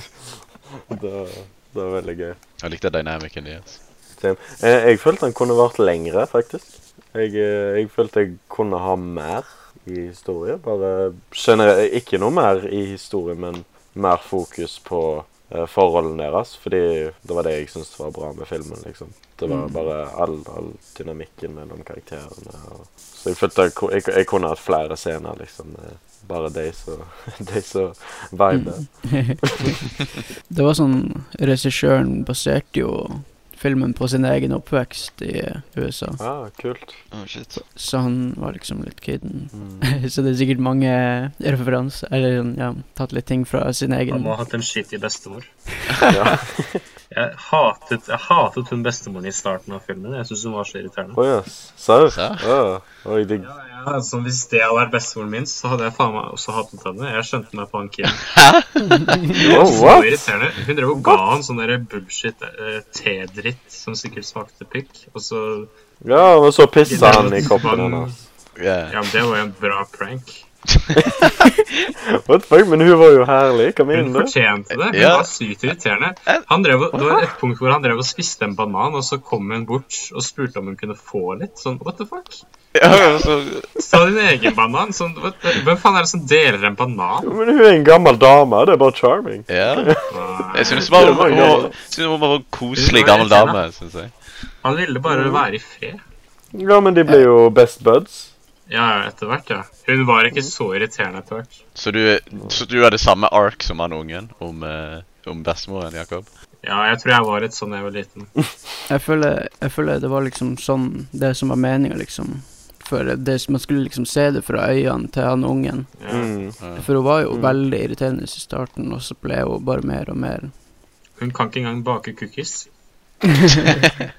[SPEAKER 1] Det, det var veldig gøy.
[SPEAKER 4] Jeg likte dynamicen deres.
[SPEAKER 1] Same. Eh, jeg følte han kunne vært lengre, faktisk. Jeg, eh, jeg følte jeg kunne ha mer i historie. Bare generelt Ikke noe mer i historie, men mer fokus på eh, forholdene deres. Fordi det var det jeg syntes var bra med filmen, liksom. Det var bare all, all dynamikken mellom karakterene. Og... Så jeg følte jeg, ku- jeg, jeg kunne hatt flere scener, liksom. Med, Bare de som de som viber.
[SPEAKER 2] det var sånn Regissøren baserte jo filmen på sin egen oppvekst i eh, USA,
[SPEAKER 1] Ah, kult.
[SPEAKER 4] Oh, shit.
[SPEAKER 2] så han var liksom litt kiden.
[SPEAKER 1] Mm.
[SPEAKER 2] så det er sikkert mange referanser, eller sånn, ja, tatt litt ting fra sin
[SPEAKER 3] Han
[SPEAKER 2] egen
[SPEAKER 3] må ha hatt en skittig bestemor.
[SPEAKER 1] Ja.
[SPEAKER 3] Jeg hatet, jeg hatet hun bestemoren i starten av filmen. Jeg syns hun var så irriterende.
[SPEAKER 1] Å jøss. Serr?
[SPEAKER 4] Serr?
[SPEAKER 1] Å, Oi, digg.
[SPEAKER 3] Ja, ja, altså, Hvis det hadde vært bestemoren min, så hadde jeg faen meg også hatet henne. Jeg skjønte meg på han Kim.
[SPEAKER 1] Oh,
[SPEAKER 3] Så
[SPEAKER 1] what?
[SPEAKER 3] irriterende. Hun drev og ga han sånn der bullshit eh, tedritt som sikkert smakte pikk. Og så
[SPEAKER 1] Ja, men så pissa han i koppen hennes.
[SPEAKER 4] Yeah.
[SPEAKER 3] Ja, men det var jo en bra prank.
[SPEAKER 1] What the fuck? Men hun var jo herlig. Kom
[SPEAKER 3] Hun
[SPEAKER 1] inn, du.
[SPEAKER 3] fortjente det. Hun
[SPEAKER 4] Ja.
[SPEAKER 3] var sykt irriterende. Han drev, og- det var et punkt hvor han drev og spiste en banan, og så kom hun bort og spurte om hun kunne få litt. Sånn, what the fuck?
[SPEAKER 4] Ja, så,
[SPEAKER 3] Ta din egen banan. Sånn, what the, hvem faen er det som deler en banan?
[SPEAKER 1] Men hun er en gammel dame. Det er bare charming.
[SPEAKER 4] ja. Jeg syns bare
[SPEAKER 1] Det var
[SPEAKER 4] hun
[SPEAKER 1] gøy.
[SPEAKER 4] var, synes hun var en koselig gammel dame. Synes jeg.
[SPEAKER 3] Han ville bare være i fred.
[SPEAKER 1] Ja, men de ble jo best buds.
[SPEAKER 3] Ja, ja, etter hvert, ja. Hun var ikke så irriterende etter hvert.
[SPEAKER 4] Så du, så du hadde samme ark som han ungen om, eh, om bestemoren, Jakob?
[SPEAKER 3] Ja, jeg tror jeg var litt sånn da jeg var liten.
[SPEAKER 2] Jeg føler, jeg føler det var liksom sånn det som var meninga, liksom. For det, man skulle liksom se det fra øynene til han ungen.
[SPEAKER 3] Ja.
[SPEAKER 1] Mm.
[SPEAKER 2] For hun var jo veldig irriterende i starten, og så ble hun bare mer og mer
[SPEAKER 3] Hun kan ikke engang bake cookies.
[SPEAKER 2] ja,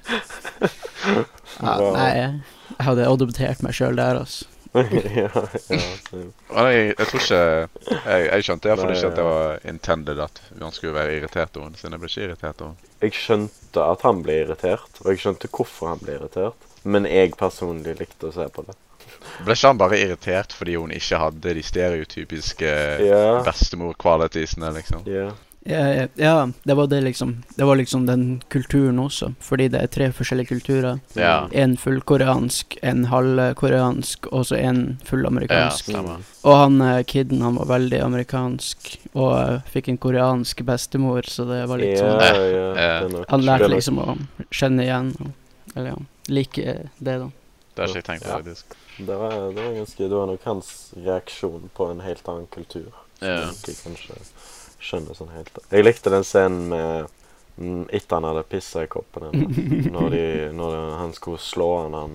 [SPEAKER 1] Wow.
[SPEAKER 2] Nei, jeg jeg hadde adoptert meg sjøl der, altså.
[SPEAKER 1] ja, altså. ja, same.
[SPEAKER 5] Nei, jeg, jeg tror ikke Jeg, jeg skjønte iallfall
[SPEAKER 1] Nei,
[SPEAKER 5] ikke at det var intended at han skulle være irritert over henne, siden jeg ble ikke irritert over henne.
[SPEAKER 1] jeg skjønte at han ble irritert, og jeg skjønte hvorfor han ble irritert. Men jeg personlig likte å se på det.
[SPEAKER 5] Ble ikke han bare irritert fordi hun ikke hadde de stereotypiske
[SPEAKER 1] Ja.
[SPEAKER 5] bestemor-qualitiesene, liksom?
[SPEAKER 1] Ja.
[SPEAKER 2] Ja, ja, det var det, liksom. Det var liksom den kulturen også, fordi det er tre forskjellige kulturer.
[SPEAKER 4] Ja.
[SPEAKER 1] Mm.
[SPEAKER 2] En full koreansk, en halv koreansk, og så en full
[SPEAKER 4] Ja,
[SPEAKER 2] amerikansk.
[SPEAKER 4] stemmer.
[SPEAKER 1] Mm.
[SPEAKER 2] Og han eh, kidden, han var veldig amerikansk, og eh, fikk en koreansk bestemor, så det var litt
[SPEAKER 1] ja,
[SPEAKER 2] sånn
[SPEAKER 1] ja,
[SPEAKER 4] Ja.
[SPEAKER 1] det er nok-
[SPEAKER 2] Han
[SPEAKER 1] det
[SPEAKER 2] lærte
[SPEAKER 1] er nok-
[SPEAKER 2] liksom å kjenne igjen og- Eller ja, like eh, det, da.
[SPEAKER 4] Det har ikke jeg tenkt på,
[SPEAKER 1] Ja.
[SPEAKER 4] faktisk.
[SPEAKER 1] Det var, det var ganske Det var nok hans reaksjon på en helt annen kultur.
[SPEAKER 4] Ja.
[SPEAKER 1] Som jeg kanskje skjønner sånn helt Jeg likte den scenen med mm, etter han hadde pissa i koppen henne. Når, de, når han skulle slå han, han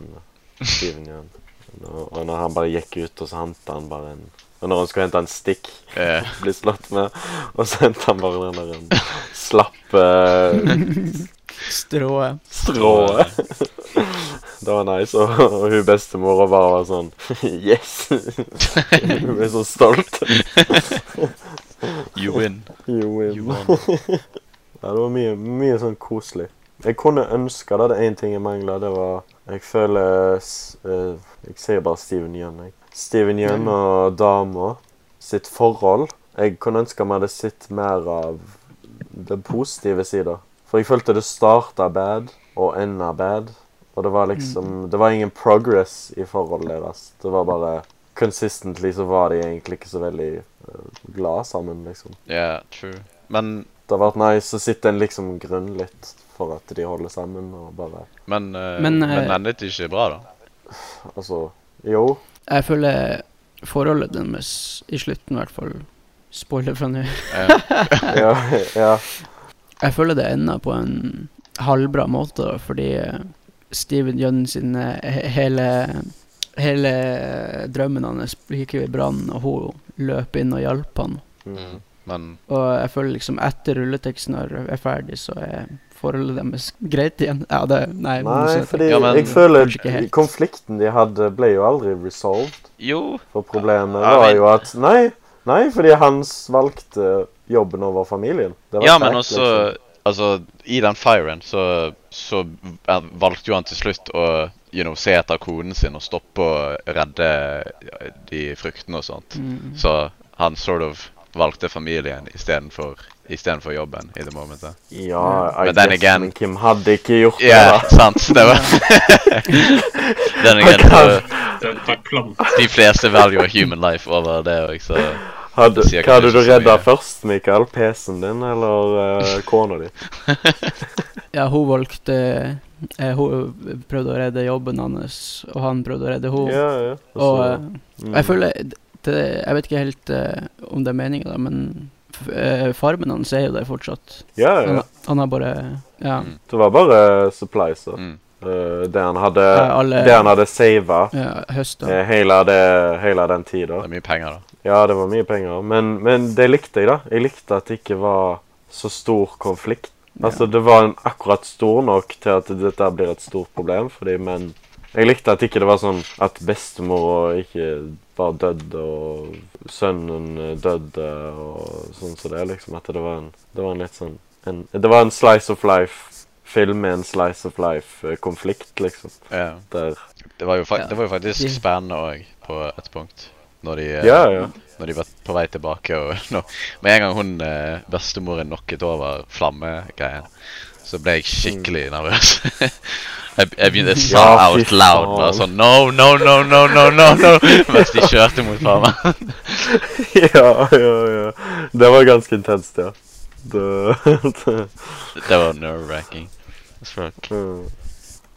[SPEAKER 1] Steven igjen. Og, og når han bare gikk ut, og så henta han bare en Og når han skulle hente en stikk
[SPEAKER 4] Eh,
[SPEAKER 1] bli slått med. Og så hentet han bare den der en slappe eh,
[SPEAKER 2] Strået.
[SPEAKER 1] strået. Det var nice. Og, og hun bestemora bare var sånn Yes! Hun ble så stolt.
[SPEAKER 4] you win.
[SPEAKER 1] You win.
[SPEAKER 4] You won.
[SPEAKER 1] Ja, det var mye, mye sånn koselig. Jeg kunne ønske det. Det er én ting jeg mangla. Det var Jeg føler s- eh, Jeg ser bare Steven Yeun, jeg. Steven Yeun og dama sitt forhold. Jeg kunne ønske vi hadde sett mer av den positive sida. For jeg følte det starta bad og enda bad. Og det var liksom Det var ingen progress i forholdet deres. Det var bare Consistently så var de egentlig ikke så veldig eh, glad sammen, liksom.
[SPEAKER 4] Ja, true. Men,
[SPEAKER 1] Det har vært nice å sitte en liksom grunn litt for at de holder sammen og bare
[SPEAKER 4] men, eh,
[SPEAKER 2] Men,
[SPEAKER 4] men,
[SPEAKER 2] eh,
[SPEAKER 4] endet ikke bra, da?
[SPEAKER 1] Altså, jo.
[SPEAKER 2] Jeg føler forholdet deres i slutten, i hvert fall Spoiler fra nå.
[SPEAKER 4] Eh,
[SPEAKER 1] Ja. ja.
[SPEAKER 2] Jeg føler det enda på en halvbra måte, da, fordi eh, Steven Jønn sin eh, he- hele Hele drømmen hans gikk jo i brann, og hun løp inn og hjalp han.
[SPEAKER 1] Mm.
[SPEAKER 4] Men
[SPEAKER 2] Og jeg føler liksom etter rulleteksten er er ferdig, så er forholdet deres greit igjen. Ja, det Nei, men
[SPEAKER 1] Nei,
[SPEAKER 2] så-
[SPEAKER 1] fordi
[SPEAKER 4] Ja, men-
[SPEAKER 1] jeg føler
[SPEAKER 2] Kanskje ikke helt.
[SPEAKER 1] konflikten de hadde, ble jo aldri resolved.
[SPEAKER 4] jo
[SPEAKER 1] For problemet
[SPEAKER 4] Ja,
[SPEAKER 1] var
[SPEAKER 4] men-
[SPEAKER 1] jo at Nei, nei, fordi hans valgte jobben over familien. Det var
[SPEAKER 4] Ja, men
[SPEAKER 1] kjekt, liksom.
[SPEAKER 4] også Altså, i den firen så, så eh, valgte jo han til slutt å you know, se etter konen sin og stoppe å redde eh, de fruktene og sånt.
[SPEAKER 2] Mm.
[SPEAKER 4] Så han sort of valgte familien istedenfor istedenfor jobben i det momentet.
[SPEAKER 1] liksom. Ja, I
[SPEAKER 4] Men Mm. then
[SPEAKER 1] guess,
[SPEAKER 4] again-
[SPEAKER 1] men Kim hadde ikke gjort
[SPEAKER 4] Ja, sant. Det var Den er greit. så
[SPEAKER 3] Den tar plan.
[SPEAKER 4] De fleste velger human life over det òg, så
[SPEAKER 1] det. Hadde,
[SPEAKER 4] sier
[SPEAKER 1] hva hadde
[SPEAKER 4] kanskje
[SPEAKER 1] du
[SPEAKER 4] ikke så
[SPEAKER 1] redda
[SPEAKER 4] mye. først,
[SPEAKER 1] først, Mikael? PC-en din eller eh, kona di?
[SPEAKER 2] Ja, hun valgte eh, Hun
[SPEAKER 1] altså-
[SPEAKER 2] prøvde å redde jobben hans, Oh. og eh, han prøvde å redde henne.
[SPEAKER 1] Ja, ja.
[SPEAKER 2] og eh, jeg føler d- det, jeg vet ikke helt eh, om det er meninga, men f eh, farmen hans er jo der fortsatt.
[SPEAKER 1] Ja, ja,
[SPEAKER 2] Han,
[SPEAKER 1] ja.
[SPEAKER 2] han har bare Ja.
[SPEAKER 4] Mm.
[SPEAKER 1] Det var bare supplies. da.
[SPEAKER 4] Mm.
[SPEAKER 1] Eh, det han hadde
[SPEAKER 2] Ja, alle-
[SPEAKER 1] Det han hadde sava
[SPEAKER 2] ja høsta.
[SPEAKER 1] eh, hele, det, hele den tida.
[SPEAKER 4] Det er mye penger, da.
[SPEAKER 1] Ja, det var mye penger, men, men det likte jeg, da. Jeg likte at det ikke var så stor konflikt. Altså, det var en akkurat stor nok til at dette blir et stort problem, fordi men Jeg likte at ikke det var sånn at bestemor ikke var dødd, og sønnen dødde, og sånn som det, liksom. At det var en, det var en litt sånn en, Det var en slice of life-film med en slice of life-konflikt, liksom.
[SPEAKER 4] Ja.
[SPEAKER 1] Der.
[SPEAKER 4] Det var jo, fak
[SPEAKER 2] Ja.
[SPEAKER 4] det var jo faktisk
[SPEAKER 2] De-
[SPEAKER 4] spennende òg, på et punkt. Når de, eh,
[SPEAKER 1] Ja, ja.
[SPEAKER 4] når de var på vei tilbake. og nå, Med en gang hun eh, bestemoren knocket over flammegreien, så ble jeg skikkelig nervøs. jeg, jeg begynte jeg sa
[SPEAKER 1] Mm. Ja, fy
[SPEAKER 4] out loud bare
[SPEAKER 1] faen.
[SPEAKER 4] sånn No, no, no, no, no, no, no mens de kjørte mot farmen.
[SPEAKER 1] ja, ja, ja. Det var ganske intenst, ja. Det, det.
[SPEAKER 4] det var nerve-racking. as fuck.
[SPEAKER 1] Mm.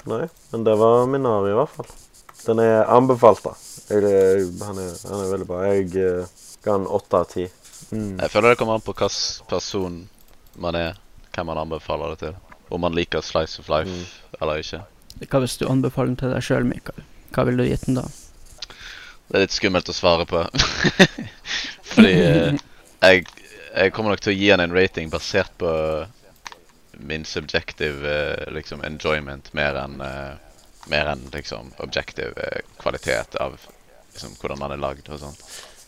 [SPEAKER 1] Nei, men det var Minari i hvert fall. Den er anbefalt, da. Jeg, eh, han, er, han er veldig bra. Jeg eh, ga han åtte av ti. Mm.
[SPEAKER 4] Jeg føler det kommer an på hvilken person man er, hvem man anbefaler det til. Om man liker Slice of Life
[SPEAKER 1] Mm.
[SPEAKER 4] eller ikke.
[SPEAKER 2] Hva hvis du anbefaler den til deg sjøl, Mikael? Hva ville du gitt den da?
[SPEAKER 4] Det er litt skummelt å svare på. Fordi eh, jeg, jeg kommer nok til å gi han en rating basert på min subjective eh, liksom enjoyment mer enn eh, mer enn liksom objective eh, kvalitet av liksom hvordan han er lagd og sånn.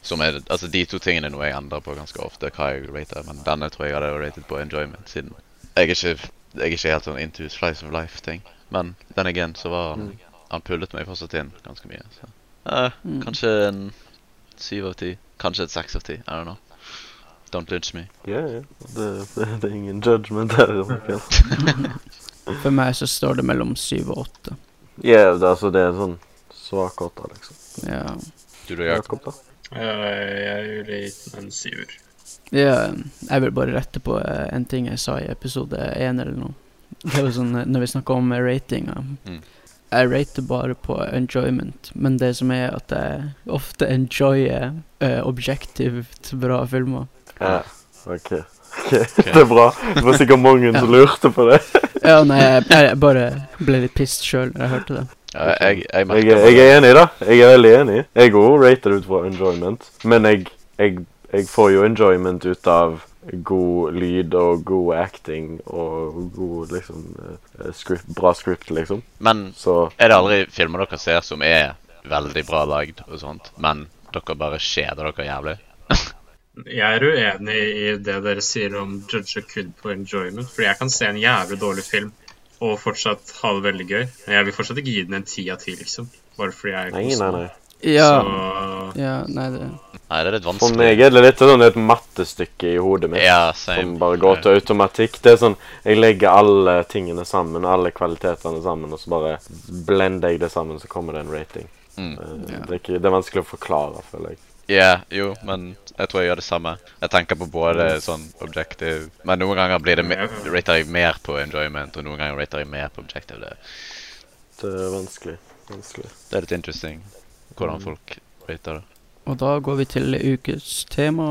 [SPEAKER 4] Som er, altså De to tingene er noe jeg endrer på ganske ofte, hva jeg rater, men denne tror jeg hadde ratet på enjoyment, siden jeg er ikke, jeg er ikke helt sånn into slice of life-ting. Men den again, så var han Han pullet meg fortsatt inn ganske mye. så. Eh,
[SPEAKER 2] Mm.
[SPEAKER 4] Kanskje en syv av ti. Kanskje et seks av ti. I don't know. Don't lynch me.
[SPEAKER 1] Ja, ja. Det, det, det er ingen judgment der. i hvert fall.
[SPEAKER 2] For meg så står det mellom syv og åtte.
[SPEAKER 1] Ja, det, altså, det er sånn svak åtte, liksom.
[SPEAKER 2] Ja.
[SPEAKER 4] Du da, Jakob?
[SPEAKER 1] Jakob, da?
[SPEAKER 3] Eh, Jeg ville gitt den en syver.
[SPEAKER 2] Ja, jeg vil bare rette på eh, en ting jeg sa i episode 1 eller noe. Det var sånn, eh, Når vi snakker om eh, ratinga
[SPEAKER 4] Mm.
[SPEAKER 2] Jeg rater bare på enjoyment, men det som er at jeg ofte enjoyer eh, objektivt bra filmer.
[SPEAKER 1] Ja. OK. Ok, Det er bra. Det var sikkert mange som lurte på det.
[SPEAKER 2] Ja, nei, jeg, jeg bare ble litt pissed sjøl da jeg hørte det.
[SPEAKER 4] Ja, jeg, jeg
[SPEAKER 1] Jeg,
[SPEAKER 4] merker
[SPEAKER 1] er- jeg er enig, da. Jeg er veldig enig. Jeg òg rater det ut fra enjoyment. Men jeg, jeg, jeg får jo enjoyment ut av god lyd og god acting og god liksom eh, script, Bra script, liksom.
[SPEAKER 4] Men
[SPEAKER 1] Så
[SPEAKER 4] er det aldri filmer dere ser som er veldig bra lagd og sånt, men dere bare kjeder dere jævlig?
[SPEAKER 3] Jeg er uenig i det dere sier om judge og kun på enjoyment. Fordi jeg kan se en jævlig dårlig film og fortsatt ha det veldig gøy. Men jeg vil fortsatt ikke gi den en ti av ti, liksom. Bare fordi jeg
[SPEAKER 1] Nei, nei, nei.
[SPEAKER 2] Ja,
[SPEAKER 3] Så
[SPEAKER 2] ja nei, det
[SPEAKER 4] Nei, det er litt vanskelig.
[SPEAKER 1] For meg er det litt sånn et mattestykke i hodet mitt.
[SPEAKER 4] Ja, same.
[SPEAKER 1] Som bare går til automatikk. Det er sånn, Jeg legger alle tingene sammen, alle kvalitetene sammen, og så bare blender jeg det sammen, så kommer det en rating.
[SPEAKER 4] Mm.
[SPEAKER 1] Eh,
[SPEAKER 2] Ja.
[SPEAKER 1] Det, er ikke, det er vanskelig å forklare, føler jeg.
[SPEAKER 4] Ja, jo, men jeg tror jeg gjør det samme. Jeg tenker på både sånn objective Men noen ganger blir det me rater jeg mer på enjoyment, og noen ganger rater jeg mer på objective. Det,
[SPEAKER 1] Det er vanskelig. vanskelig.
[SPEAKER 4] det er litt interesting
[SPEAKER 1] Mm.
[SPEAKER 4] hvordan folk rater det.
[SPEAKER 2] Og da går vi til ukes tema.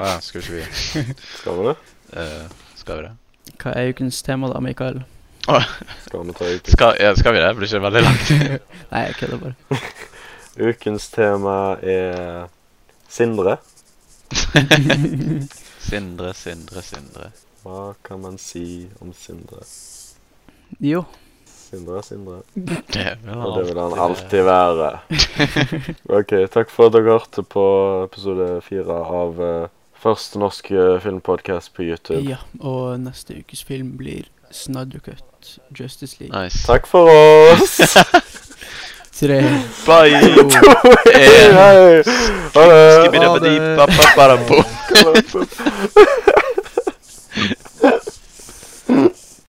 [SPEAKER 4] Ah, skal ikke vi
[SPEAKER 1] Skal vi det?
[SPEAKER 4] eh, Skal vi det?
[SPEAKER 2] Hva er ukens tema da, Mikael?
[SPEAKER 1] Skal vi ta ukens?
[SPEAKER 4] Skal, ja, skal vi det? Blir ikke det veldig langt?
[SPEAKER 2] Nei, jeg kødder bare.
[SPEAKER 1] Ukens tema er Sindre.
[SPEAKER 4] Sindre, Sindre, Sindre.
[SPEAKER 1] Hva kan man si om Sindre?
[SPEAKER 2] Jo.
[SPEAKER 1] Sindre, Sindre.
[SPEAKER 4] Det vil han
[SPEAKER 1] Og det vil han alltid
[SPEAKER 4] alltid
[SPEAKER 1] være. OK, takk for at dere hørte på episode fire av eh, første norske filmpodkast på YouTube.
[SPEAKER 2] Ja, og neste ukes film blir Snaddercut Justice League.
[SPEAKER 4] Nice.
[SPEAKER 1] Takk for oss!
[SPEAKER 2] Tre,
[SPEAKER 4] Bye!
[SPEAKER 2] to,
[SPEAKER 4] Eh,
[SPEAKER 1] Hei! Ha det!
[SPEAKER 4] skibidi-bidi, ba-ba-ba-da-bo.
[SPEAKER 1] Ha det!